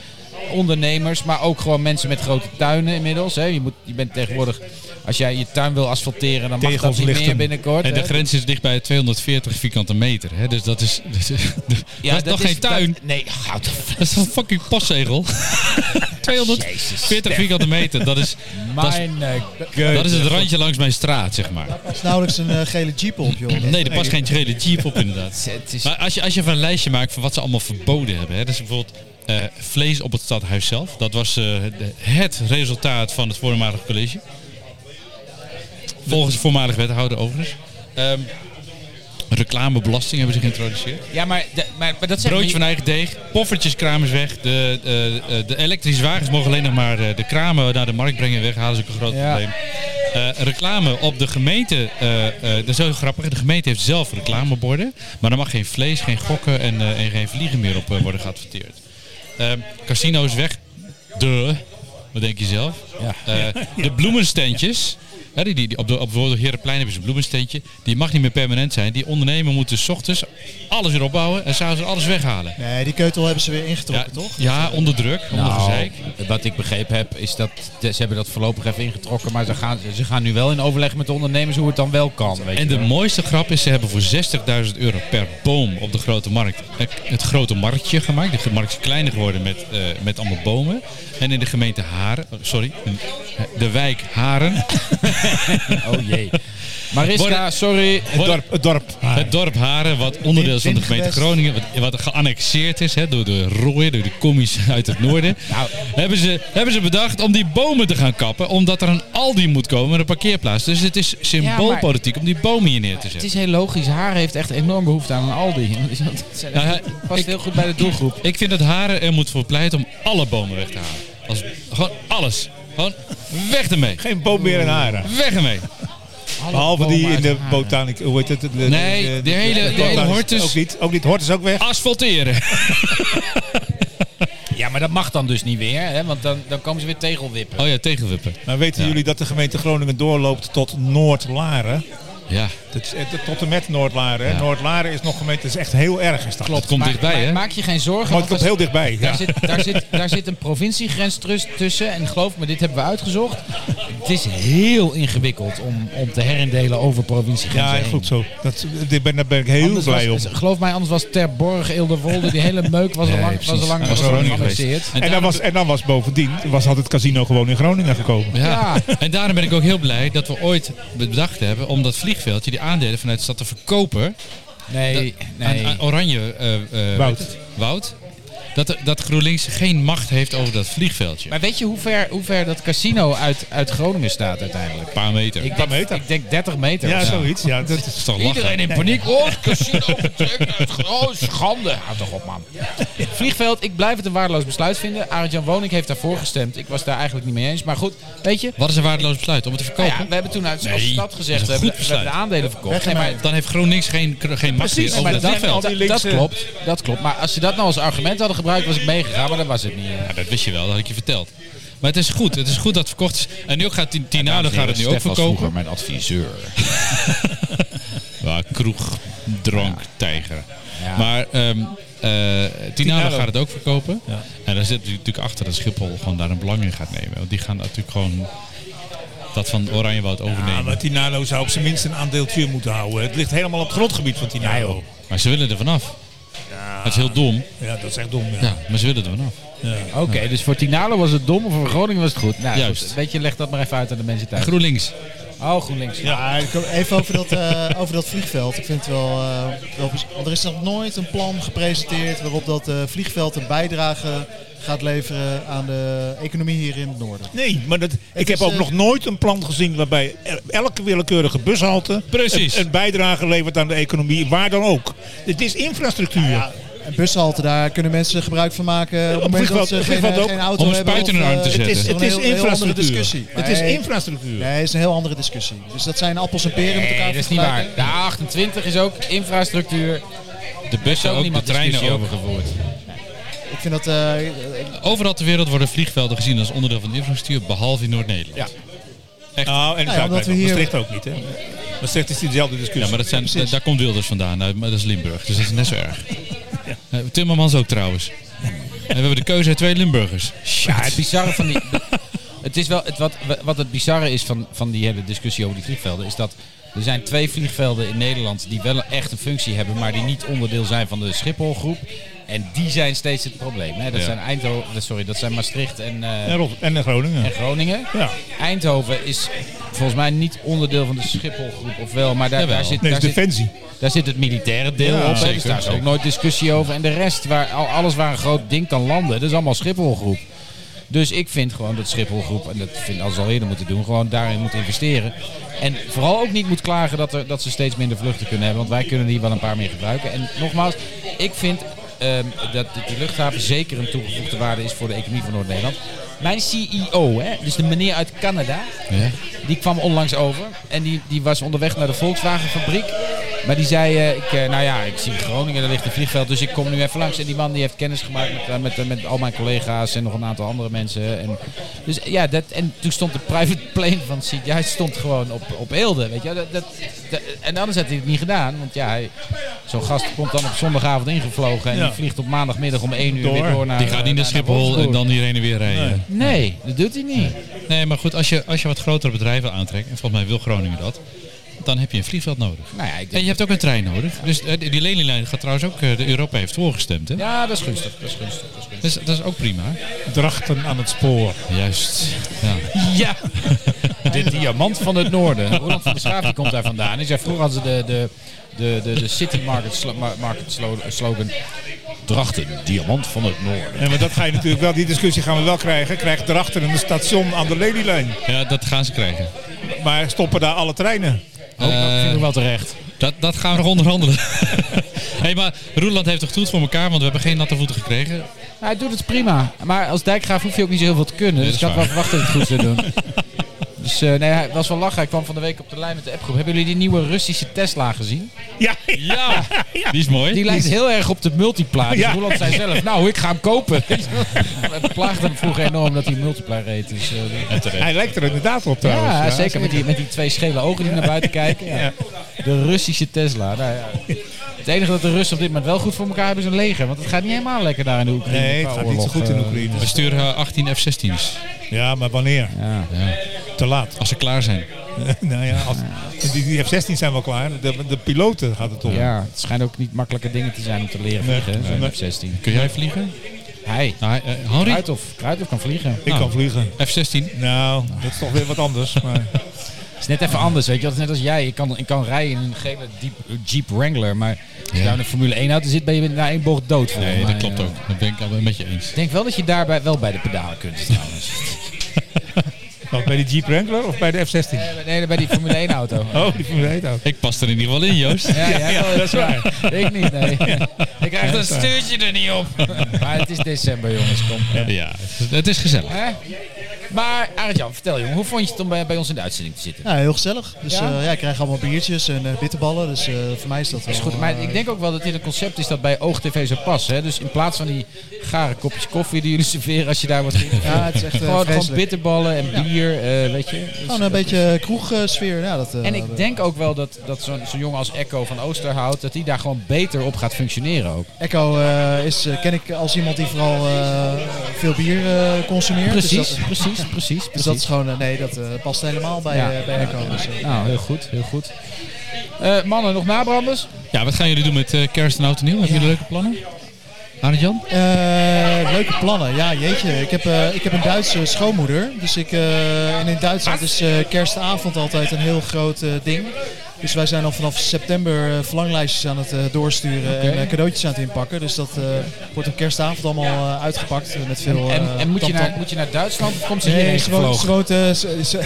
S1: ondernemers, maar ook gewoon mensen met grote tuinen inmiddels. Hè, je, moet, je bent tegenwoordig, Als jij je tuin wil asfalteren, dan mag
S3: Tegels
S1: dat niet meer
S3: lichten.
S1: binnenkort.
S2: En de
S1: hè?
S2: grens is dicht bij 240 vierkante meter. Hè? Dus dat is, dat is, dat is nog geen tuin.
S1: dat- nee, houd de f-
S2: Dat is een fucking postzegel. 240 vierkante meter. Dat is, dat is,
S1: Mijn eh,
S2: dat is het randje langs mijn straat, zeg maar.
S4: Er is nauwelijks een eh, gele jeep op, joh.
S2: Nee, er past geen trailer jeep op inderdaad.
S1: het is-
S2: Maar als je, als je even een lijstje maakt van wat ze allemaal verboden hebben. Hè? Dus bijvoorbeeld eh, vlees op het stadhuis zelf. Dat was eh, de- het resultaat van het voormalig college. Volgens de voormalig wethouder overigens. Ehm, reclamebelasting hebben ze geïntroduceerd.
S1: Ja, maar, de- maar, maar dat zijn
S2: Broodje
S1: niet-
S2: van eigen deeg, poffertjeskraam is weg. De, eh, eh, de elektrische wagens mogen alleen nog maar eh, de kramen naar de markt brengen en weghalen. Dat is ook een groot
S1: Ja.
S2: probleem. Eh, reclame op de gemeente. eh eh, dat is heel grappig. De gemeente heeft zelf reclameborden. Maar er mag geen vlees, geen gokken en, eh, en geen vliegen meer op eh, worden geadverteerd. Eh, casino's weg. De. Wat denk je zelf?
S1: Ja.
S2: Eh, de bloemensteentjes. Hè, die, die, die- op, de, op bijvoorbeeld op Herenplein hebben ze een bloemensteentje. Die mag niet meer permanent zijn. Die ondernemer moet dus 's ochtends alles weer opbouwen en s'avonds alles weghalen.
S4: Nee, die keutel hebben ze weer ingetrokken,
S2: ja,
S4: toch?
S2: Ja, onder druk, onder
S1: Nou,
S2: gezeik.
S1: wat ik begrepen heb, is dat ze hebben dat voorlopig even ingetrokken. Maar ze gaan, ze gaan nu wel in overleg met de ondernemers hoe het dan wel kan. Weet
S2: En
S1: je
S2: de
S1: wel.
S2: mooiste grap is, ze hebben voor 60.000 euro per boom op de grote markt een- het grote marktje gemaakt. De markt is kleiner geworden met, eh, met allemaal bomen. En in de gemeente Haren, oh, sorry, in de wijk Haren,
S1: Oh jee. Mariska,
S2: Worden-
S1: sorry.
S3: Het dorp. Het dorp.
S2: het dorp Haren, wat onderdeel is van de gemeente
S4: Windgewest.
S2: Groningen, wat, wat geannexeerd is hè, door de rooien, door de commies uit het noorden,
S1: Nou.
S2: hebben, ze, hebben ze bedacht om die bomen te gaan kappen, omdat er een Aldi moet komen en een parkeerplaats. Dus het is symboolpolitiek om die bomen hier neer te zetten.
S1: Het is heel logisch. Haar heeft echt enorm behoefte aan een Aldi. Dat zijn echt-
S2: Nou, hij-
S1: het past
S2: ik-
S1: heel goed bij de doelgroep.
S2: Ik vind dat Haren er moet voor pleiten om alle bomen weg te halen. Als, gewoon alles. Gewoon weg ermee.
S3: Geen boom meer in haren.
S2: Weg ermee.
S3: Behalve die in de botaniek. Hoe heet het? De- de-
S2: Nee, de hele- de hele
S3: botanis-
S2: hortus.
S3: Ook niet. Ook niet. Hortus ook weg.
S2: Asfalteren.
S1: Ja, maar dat mag dan dus niet meer. Hè? Want dan, dan komen ze weer tegelwippen.
S2: Oh ja, tegenwippen.
S3: Maar weten jullie dat de gemeente Groningen doorloopt tot Noord-Laren?
S2: Ja.
S3: Dat is, eh, tot en met Noord-Laren. hè?
S2: Ja.
S3: Noord-Laren is nog gemeente. Dat is echt heel erg is dat.
S1: Oh,
S2: Klopt. komt dichtbij, hè?
S1: Maak je geen zorgen.
S3: Maar het
S1: want
S3: komt
S1: als-
S3: heel dichtbij.
S1: Daar,
S3: Ja.
S1: zit, daar, zit, daar zit een provinciegrens trus- tussen. En geloof me, dit hebben we uitgezocht. Het is heel ingewikkeld om, om te herindelen over provinciegrenzen
S3: Ja,
S1: heen.
S3: goed zo. Dat, dit ben, daar ben ik heel
S1: Anders
S3: blij om.
S1: was- Geloof mij, anders was Terborg, Eelderwolde, die hele meuk was al lang, was al lang
S2: Dat was Groningen
S1: geannexeerd.
S2: geweest.
S3: En dan, was, en dan was bovendien, was, had het casino gewoon in Groningen gekomen.
S2: Ja.
S1: Ja.
S2: En daarom ben ik ook heel blij dat we ooit bedacht hebben om dat vliegveldje, die aandelen vanuit de stad te verkopen
S1: Nee, nee.
S2: aan, aan Oranje eh, eh, weet
S3: Wout.
S2: het? Wout. Dat, er- dat GroenLinks geen macht heeft over dat vliegveldje.
S1: Maar weet je hoe ver, hoe ver dat casino uit, uit Groningen staat uiteindelijk?
S2: Een paar meter.
S1: Ik
S3: Paar
S1: denk,
S3: meter.
S1: ik denk 30 meter.
S3: Ja,
S1: of zo.
S3: zoiets. Ja, dat
S2: dat
S3: is,
S2: is toch lachen.
S1: Iedereen in paniek. Oh, casino vertrekt uit Gro- Oh, schande. Houd toch op, man. Vliegveld, ik blijf het een waardeloos besluit vinden. Arend-Jan Woning heeft daarvoor gestemd. Ik was daar eigenlijk niet mee eens. Maar goed, weet je...
S2: Wat is een waardeloos besluit om het te
S1: nou
S2: verkopen?
S1: ja, we hebben toen uit
S2: Nee,
S1: als stad gezegd,
S2: dat
S1: we
S2: is een
S1: hebben,
S2: goed
S1: we hebben de
S2: besluit.
S1: aandelen verkocht.
S2: Nee, maar dan heeft GroenLinks geen, geen macht
S3: Precies,
S2: meer over
S3: maar
S2: dat
S3: dat-
S2: vliegveld.
S3: al die
S1: dat, dat
S3: linkse-
S1: klopt, dat klopt. Maar als ze dat nou als argument hadden gebruikt, was ik meegegaan. Maar dat was het niet. eh.
S2: Ja, dat wist je wel, dat had ik je verteld. Maar het is goed, het is goed dat het verkocht is. En nu gaat Ti- Tinado gaat het nu ook
S1: Stef was vroeger
S2: verkopen.
S1: mijn adviseur.
S2: Ja, kroeg, drank, tijger.
S1: Ja.
S2: Maar ehm eh, Tinado
S3: Tinado.
S2: gaat het ook verkopen.
S3: Ja.
S2: En daar zit natuurlijk achter dat Schiphol gewoon daar een belang in gaat nemen. Want die gaan natuurlijk gewoon dat van Oranjewoud overnemen.
S3: Ja,
S2: maar,
S3: maar Tinalo zou op zijn minst een aandeeltje moeten houden. Het ligt helemaal op het grondgebied van Tinalo.
S2: ze willen er vanaf. Dat is heel dom,
S3: Ja, dat is echt dom. Ja.
S2: ja, maar ze willen er vanaf.
S1: Oké, dus voor Tinalo was het dom, of voor Groningen was het goed. Nou,
S2: Juist.
S1: goed, weet je, leg dat maar even uit aan de mensen thuis.
S2: GroenLinks,
S1: Oh, GroenLinks.
S4: Maar ik kom Even over dat, eh, over dat vliegveld. Ik vind het wel, eh, wel... bes- Want er is nog nooit een plan gepresenteerd waarop dat eh, vliegveld een bijdrage gaat leveren aan de economie hier in het noorden.
S3: Nee, maar dat, ik heb
S4: is,
S3: ook
S4: eh,
S3: nog nooit een plan gezien waarbij el- elke willekeurige bushalte
S2: Precies.
S3: Een, een bijdrage levert aan de economie, waar dan ook. Het is infrastructuur.
S4: Een bushalte, daar kunnen mensen gebruik van maken op het moment
S3: vliegveld-
S4: dat ze geen,
S3: vliegveld
S4: eh,
S3: ook.
S4: geen auto
S2: Om een
S4: hebben.
S2: spuit in hun
S4: of,
S2: arm te
S4: eh,
S3: Het
S2: zetten.
S3: is,
S4: dat
S3: het
S4: een
S3: is
S4: heel- heel andere
S3: infrastructuur.
S4: discussie.
S3: Het is
S4: Nee.
S3: infrastructuur.
S4: Nee, het is een heel andere discussie. Dus dat zijn appels en peren met
S1: Nee,
S4: elkaar
S1: dat is niet waar.
S4: vergelijken.
S1: De A28 is ook infrastructuur.
S2: de beste
S1: Zo ook
S2: ook, de
S1: niemand
S2: treinen
S1: discussie
S2: ook.
S1: over gevoerd.
S4: Ik vind dat... eh, eh,
S2: Overal ter wereld worden vliegvelden gezien als onderdeel van de infrastructuur, behalve in Noord-Nederland.
S1: Ja.
S3: Nou, en
S4: ja,
S3: dat
S4: omdat we
S3: hier...
S4: hier-
S3: Maastricht ook niet. Hè? Maastricht is diezelfde discussie.
S2: Ja, maar dat zijn,
S4: Precies.
S2: da- daar komt Wilders vandaan, uit, maar dat is Limburg, dus dat is net zo erg. Eh, Timmermans ook trouwens. En we hebben de keuze uit twee Limburgers.
S1: Ja, het bizarre van die... Het is wel, het, wat, wat het bizarre is van, van die hele discussie over die vliegvelden, is dat er zijn twee vliegvelden in Nederland die wel echt een functie hebben, maar die niet onderdeel zijn van de Schiphol-groep. En die zijn steeds het probleem. Hè? Dat,
S2: Ja.
S1: zijn Eindhoven, sorry, dat zijn Maastricht en, eh,
S3: En, Rotterdam- en in Groningen.
S1: en Groningen.
S3: Ja.
S1: Eindhoven is volgens mij niet onderdeel van de Schiphol-groep, of wel, maar daar,
S2: Jawel.
S1: daar, zit,
S3: Nee, dus
S1: daar,
S3: het is
S1: zit,
S3: defensie.
S1: daar zit het militaire deel
S3: Ja,
S1: op. hè.
S2: zeker,
S1: dus daar is ook
S2: zeker.
S1: nooit discussie over. En de rest, waar, al- alles waar een groot ding kan landen, dat is allemaal Schiphol-groep. Dus ik vind gewoon dat Schiphol-groep, en dat vind als ze al eerder moeten doen, gewoon daarin moet investeren. En vooral ook niet moet klagen dat, er, dat ze steeds minder vluchten kunnen hebben, want wij kunnen hier wel een paar meer gebruiken. En nogmaals, ik vind ehm, dat de luchthaven zeker een toegevoegde waarde is voor de economie van Noord-Nederland. Mijn CEO, hè, dus de meneer uit Canada,
S2: Ja.
S1: die kwam onlangs over en die, die was onderweg naar de Volkswagenfabriek. Maar die zei, eh, ik, eh, nou ja, ik zie Groningen, daar ligt een vliegveld, dus ik kom nu even langs. En die man die heeft kennis gemaakt met, eh, met, eh, met al mijn collega's en nog een aantal andere mensen. En, dus ja, dat, en toen stond de private plane van CJ hij stond gewoon op, op Eelde, weet je. wel. Dat, dat, dat- en anders had hij het niet gedaan, want ja, hij- zo'n gast komt dan op zondagavond ingevlogen en
S3: Ja.
S1: die vliegt op maandagmiddag om 1 uur weer
S3: Door.
S1: door naar
S2: Die gaat
S1: eh,
S2: niet naar Schiphol en
S1: Wolfsburg.
S2: dan hierheen en weer rijden.
S3: Nee.
S1: Nee, dat doet hij niet.
S2: Nee, maar goed, als je, als je wat grotere bedrijven aantrekt, en volgens mij wil Groningen dat, dan heb je een vliegveld nodig.
S1: Nou ja, ik
S2: En
S1: denk,
S2: je hebt ook een trein nodig. Dus eh, die Lelylijn gaat trouwens ook, eh, de Europa heeft voorgestemd. Hè?
S1: ja, dat is gunstig, dat is gunstig, dat is gunstig.
S2: Dus dat is ook prima.
S3: Drachten aan het spoor.
S2: Juist. Ja.
S1: Ja, de diamant van het noorden. Roland van der Schaaf die komt daar vandaan. Hij zei, vroeger hadden ze de, de, de, de, de city market, slo- ma- market slo- slogan... Drachten, diamant van het noorden.
S3: En maar dat ga je natuurlijk wel, die discussie gaan we wel krijgen. Krijgt Drachten een station aan de Lelylijn.
S2: ja, dat gaan ze krijgen.
S3: Maar stoppen daar alle treinen?
S1: Ook dat
S2: Eh,
S1: vind ik wel terecht.
S2: Dat, dat gaan we nog onderhandelen. hey, maar Roeland heeft toch goed voor elkaar, want we hebben geen natte voeten gekregen.
S1: Hij doet het prima. Maar als dijkgraaf hoef je ook niet zo heel veel te kunnen.
S2: Nee,
S1: dus ik
S2: dat
S1: had
S2: is
S1: wel verwacht dat hij het goed zou doen. Dus eh, nee, hij was wel lachen. Hij kwam van de week op de lijn met de appgroep. Hebben jullie die nieuwe Russische Tesla gezien?
S3: Ja,
S2: Ja, die is mooi.
S1: Die lijkt heel erg op de multipla. Dus
S3: Ja.
S1: Roland zei zelf, nou, ik ga hem kopen. Het plaagde hem vroeger enorm dat hij een multipla reed. Dus, eh,
S2: Ja, terecht.
S3: hij lijkt er inderdaad op trouwens.
S1: ja, zeker met die, met die twee schele ogen die naar buiten kijken. Ja. De Russische Tesla. Nou, ja. Het enige dat de Russen op dit moment wel goed voor elkaar hebben is een leger. Want het gaat niet helemaal lekker daar in de Oekraïne.
S3: Nee, het
S1: qua
S3: gaat niet zo
S1: oorlog,
S3: goed in
S1: eh.
S3: Oekraïne.
S2: We sturen eh, 18 F-16's
S3: Ja, maar wanneer?
S1: Ja.
S3: Te laat.
S2: als ze klaar zijn.
S3: nou ja, als, die, die F-16 zijn wel klaar. De, de piloten gaat het om.
S1: ja, het schijnt ook niet makkelijke dingen te zijn om te leren
S3: Nee,
S1: vliegen. hè,
S3: nee.
S1: zo'n F-16.
S2: Kun jij vliegen?
S1: Hij,
S2: Nou, eh, Henry?
S1: Kruithof. Kruithof kan vliegen.
S3: Ik kan vliegen.
S2: F-16?
S3: Nou, dat is toch weer wat anders. Maar
S1: Het is net even anders, weet je. Dat is net als jij. Ik kan, ik kan rijden in een gele diep, Jeep Wrangler. Maar als
S2: Ja.
S1: je nou in de Formule 1 auto zit, ben je na één bocht dood. volgens
S2: Nee,
S1: mij,
S2: dat klopt
S1: ja.
S2: ook. Dat ben ik wel met je eens.
S1: Ik denk wel dat je daarbij wel bij de pedalen kunt trouwens.
S3: Wat, bij de Jeep Wrangler of bij de F-16?
S1: Nee, bij die Formule 1 auto.
S3: Oh, die Formule 1 ook.
S2: Ik pas er in ieder geval in, Joost.
S1: Ja, ja,
S3: ja, dat is waar.
S1: Ik niet, nee. Ik krijg dat stuk.
S2: stuurtje er niet op.
S1: Maar het is december, jongens. Kom.
S2: Ja, het is gezellig.
S1: Hè? Maar Arjan, vertel jongen, hoe vond je het om bij, bij ons in de uitzending te zitten?
S4: Ja, heel gezellig. Dus eh,
S1: Ja?
S4: ja? ik krijg allemaal biertjes en eh, bitterballen. Dus eh, voor mij is dat wel...
S1: Is goed, maar
S4: eh,
S1: ik denk ook wel dat dit een concept is dat bij OogTV zou passen. Hè? Dus in plaats van die gare kopjes koffie die jullie serveren als je daar wordt geïnterviewd.
S4: Ja, het is echt eh,
S1: Gewoon, gewoon
S4: vreselijk. Oh,
S1: bitterballen en bier, eh, weet je. Dus
S4: Gewoon
S1: dat
S4: een
S1: is-
S4: beetje kroegsfeer. Ja, dat, eh,
S1: En
S4: dat-
S1: ik denk ook wel dat, dat zo'n zo'n jongen als Echo van Oosterhout, dat die daar gewoon beter op gaat functioneren ook.
S4: Echo eh, is, eh, ken ik als iemand die vooral eh, veel bier eh, consumeert. Dus dat-
S1: Precies, precies, precies.
S4: Dus
S1: precies.
S4: dat is gewoon, eh, nee, dat eh, past helemaal bij,
S1: Ja.
S4: eh, bij Echo. Dus, eh,
S1: Nou, heel goed, heel goed. Eh, mannen, nog nabranders?
S2: Ja, wat gaan jullie doen met eh, kerst en oud en nieuw? Hebben jullie leuke plannen? Arjan?
S4: eh, leuke plannen. Ja, jeetje. Ik heb, eh, ik heb een Duitse schoonmoeder. Dus ik, eh, en in Duitsland is eh, kerstavond altijd een heel groot eh, ding. Dus wij zijn al vanaf september eh, verlanglijstjes aan het eh, doorsturen en
S1: Oké.
S4: eh, cadeautjes aan het inpakken. Dus dat eh, wordt op kerstavond allemaal eh, uitgepakt eh, met veel
S1: en
S4: eh,
S1: en moet, je
S4: tamtam.
S1: naar, moet je naar Duitsland of komt ze hierheen
S4: Nee, ze woont, ze
S1: gevlogen?
S4: woont, eh, ze, ze,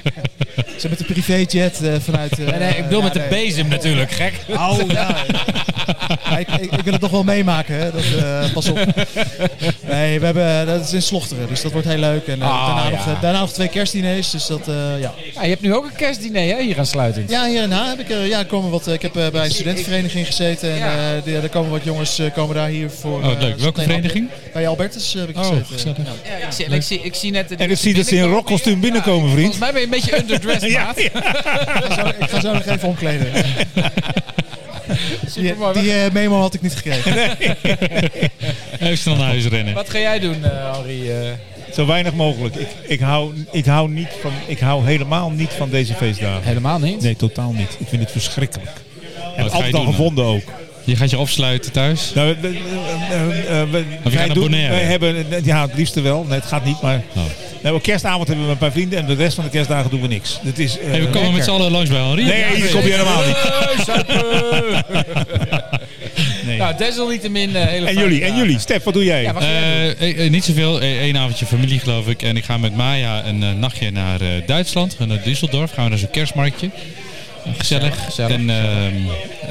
S4: ze met een privéjet eh, vanuit... eh,
S1: Nee, nee, ik bedoel
S4: ja,
S1: met de
S4: nee.
S1: bezem natuurlijk, gek.
S4: Oh, ja. Maar ik, ik, ik wil het nog wel meemaken, hè. Dat, eh, pas op. Nee, we hebben, eh, dat is in Slochteren, dus dat wordt heel leuk. En eh,
S1: Ah,
S4: daarna,
S1: ja.
S4: nog, eh, daarna nog twee kerstdiners, dus dat, eh, ja.
S1: Ja, je hebt nu ook een kerstdiner hè, hier aansluitend.
S4: Ja, hier en daar heb ik, eh, ja, er komen wat, eh, ik heb eh, bij een studentenvereniging gezeten. En
S1: Ja.
S4: eh, die- er komen wat jongens eh, komen daar hier voor...
S2: Oh, leuk.
S4: eh,
S2: Welke
S4: zometeen
S2: vereniging?
S4: op. Bij Albertus eh, heb ik
S2: Oh,
S4: gezeten.
S2: gezellig.
S4: Ja.
S1: Ja, ik, zie, ik, zie, ik zie net...
S3: En ik zie dat ze in een rockkostuum binnenkomen,
S1: Volgens
S3: vriend.
S1: mij ben je een beetje underdressed,
S3: Ja,
S1: maat.
S3: ja.
S4: Ik ga zo- Ik ga zo nog even omkleden. Die,
S1: Supermooi.
S4: die eh, memo had ik niet gekregen.
S2: Even snel naar huis rennen.
S1: Wat ga jij doen, eh Henri? eh?
S3: Zo weinig mogelijk. Ik, ik, hou, ik, hou niet van, ik hou helemaal niet van deze feestdagen.
S1: Helemaal niet.
S3: Nee, totaal niet. Ik vind het verschrikkelijk.
S2: ga
S3: En
S2: je
S3: altijd al
S2: doen dan?
S3: gevonden ook.
S2: Je gaat je opsluiten thuis.
S3: Nou, we, we- we- eh, we-
S2: naar
S3: wij doen-
S2: Bonaire.
S3: wij hebben, eh, ja, het liefste wel. Nee, het gaat niet, maar...
S2: Oh.
S3: We hebben kerstavond hebben we een paar vrienden en de rest van de kerstdagen doen we niks. Dat is, eh,
S2: Hey, we komen
S3: lekker.
S2: met z'n allen langs bij Henri.
S3: Nee,
S2: Ja,
S3: die kom je helemaal niet. Nee.
S1: Nou, desalniettemin eh, hele
S3: En
S1: fijne
S3: jullie, en
S1: dagen.
S3: jullie. Stef, wat doe jij?
S1: Ja, wat ga jij doen?
S2: Eh, eh, eh, niet zoveel. Eén avondje familie, geloof ik. En ik ga met Maya een eh, nachtje naar eh, Duitsland. We gaan naar Düsseldorf. Gaan we naar zo'n kerstmarktje. Gezellig.
S1: gezellig,
S2: en ehm, eh,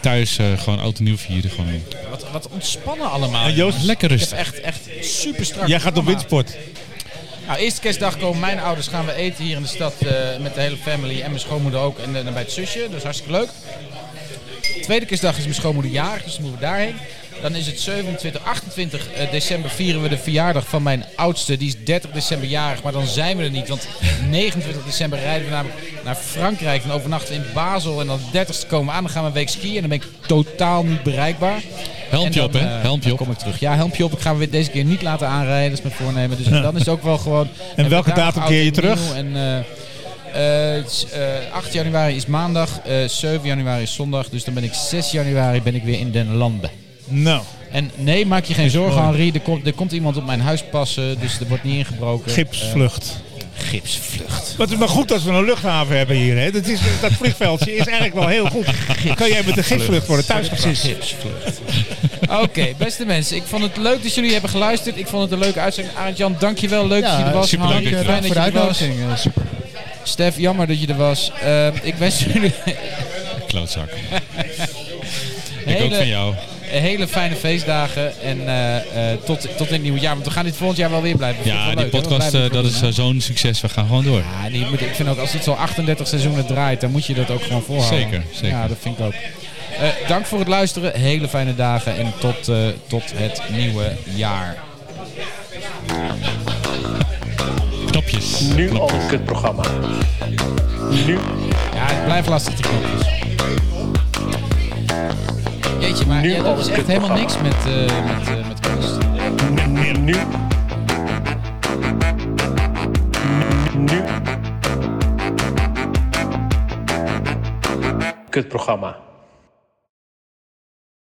S2: thuis eh, gewoon oud en nieuw vieren. Gewoon
S1: Wat, wat ontspannen allemaal.
S3: En Ah, Joost?
S2: lekker
S1: Ik heb
S2: rustig.
S1: echt, echt super strak.
S3: Jij gaat op
S1: programma.
S3: windsport.
S1: Nou, eerste kerstdag komen mijn ouders gaan we eten hier in de stad eh, met de hele family en mijn schoonmoeder ook en eh, dan bij het zusje. Dus hartstikke leuk. Tweede kerstdag is mijn schoonmoeder jarig, dus moeten we daarheen. Dan is het 27, 28 eh, december vieren we de verjaardag van mijn oudste. Die is 30 december jarig, maar dan zijn we er niet. Want 29 december rijden we namelijk naar Frankrijk. Dan overnachten we in Basel en dan 30ste komen we aan. Dan gaan we een week skiën en dan ben ik totaal niet bereikbaar. En
S2: Helmpje
S1: dan,
S2: op, hè?
S1: eh,
S2: Helmpje
S1: dan
S2: op.
S1: kom ik terug. Ja, helmpje op. Ik ga me weer deze keer niet laten aanrijden. Dat is mijn voornemen. Dus dan is het ook wel gewoon...
S3: En welke
S1: vandaag
S3: datum
S1: oud
S3: keer je
S1: en
S3: terug?
S1: nieuw En, eh, eh, s- eh, 8 januari is maandag. eh, 7 januari is zondag. Dus dan ben ik 6 januari ben ik weer in Den Landen.
S3: Nou,
S1: En nee, maak je geen zorgen,
S3: mooi.
S1: Henri. Er komt, er komt iemand op mijn huis passen. Dus er wordt niet ingebroken.
S3: gipsvlucht.
S1: Eh, gipsvlucht.
S3: Maar het is maar goed dat we een luchthaven hebben hier. Hè. Dat, is, dat vliegveldje is eigenlijk wel heel goed. Kan jij met de gipsvlucht worden thuisgebracht?
S1: Gipsvlucht. Oké, beste mensen. Ik vond het leuk dat jullie hebben geluisterd. Ik vond het een leuke uitzending. Arend-Jan, dankjewel. Leuk dat je er was.
S2: superleuk
S1: Henri,
S2: dat je er
S1: fijn dat je
S4: Dank voor de
S1: er was.
S4: uitnodiging. eh, super.
S1: Stef, jammer dat je er was. Eh, ik wens jullie
S2: Klootzak. Ik ook van
S1: hele,
S2: jou.
S1: hele fijne feestdagen. En eh, eh, tot, tot in het nieuwe jaar. Want we gaan dit volgend jaar wel weer blijven. Vind ik
S2: Ja,
S1: wel
S2: die
S1: leuk, hè? We
S2: podcast
S1: blijven
S2: eh, dat
S1: het
S2: is
S1: doen,
S2: eh, zo'n succes. We gaan gewoon door.
S1: hè? Ja, en je moet, ik vind ook als iets al 38 seizoenen draait, dan moet je dat ook gewoon volhouden.
S2: Zeker, zeker.
S1: Ja, dat vind ik ook. Eh, dank voor het luisteren. Hele fijne dagen. En tot, eh, tot het nieuwe jaar.
S2: Knopjes.
S5: Nu al een kutprogramma. Nu
S1: Ja, het blijft lastig te knopjes. Jeetje, maar
S5: Nu
S1: ja, dat is echt helemaal niks met, eh met, eh, met kunst.
S5: Nu. Nu. Nu. Kutprogramma.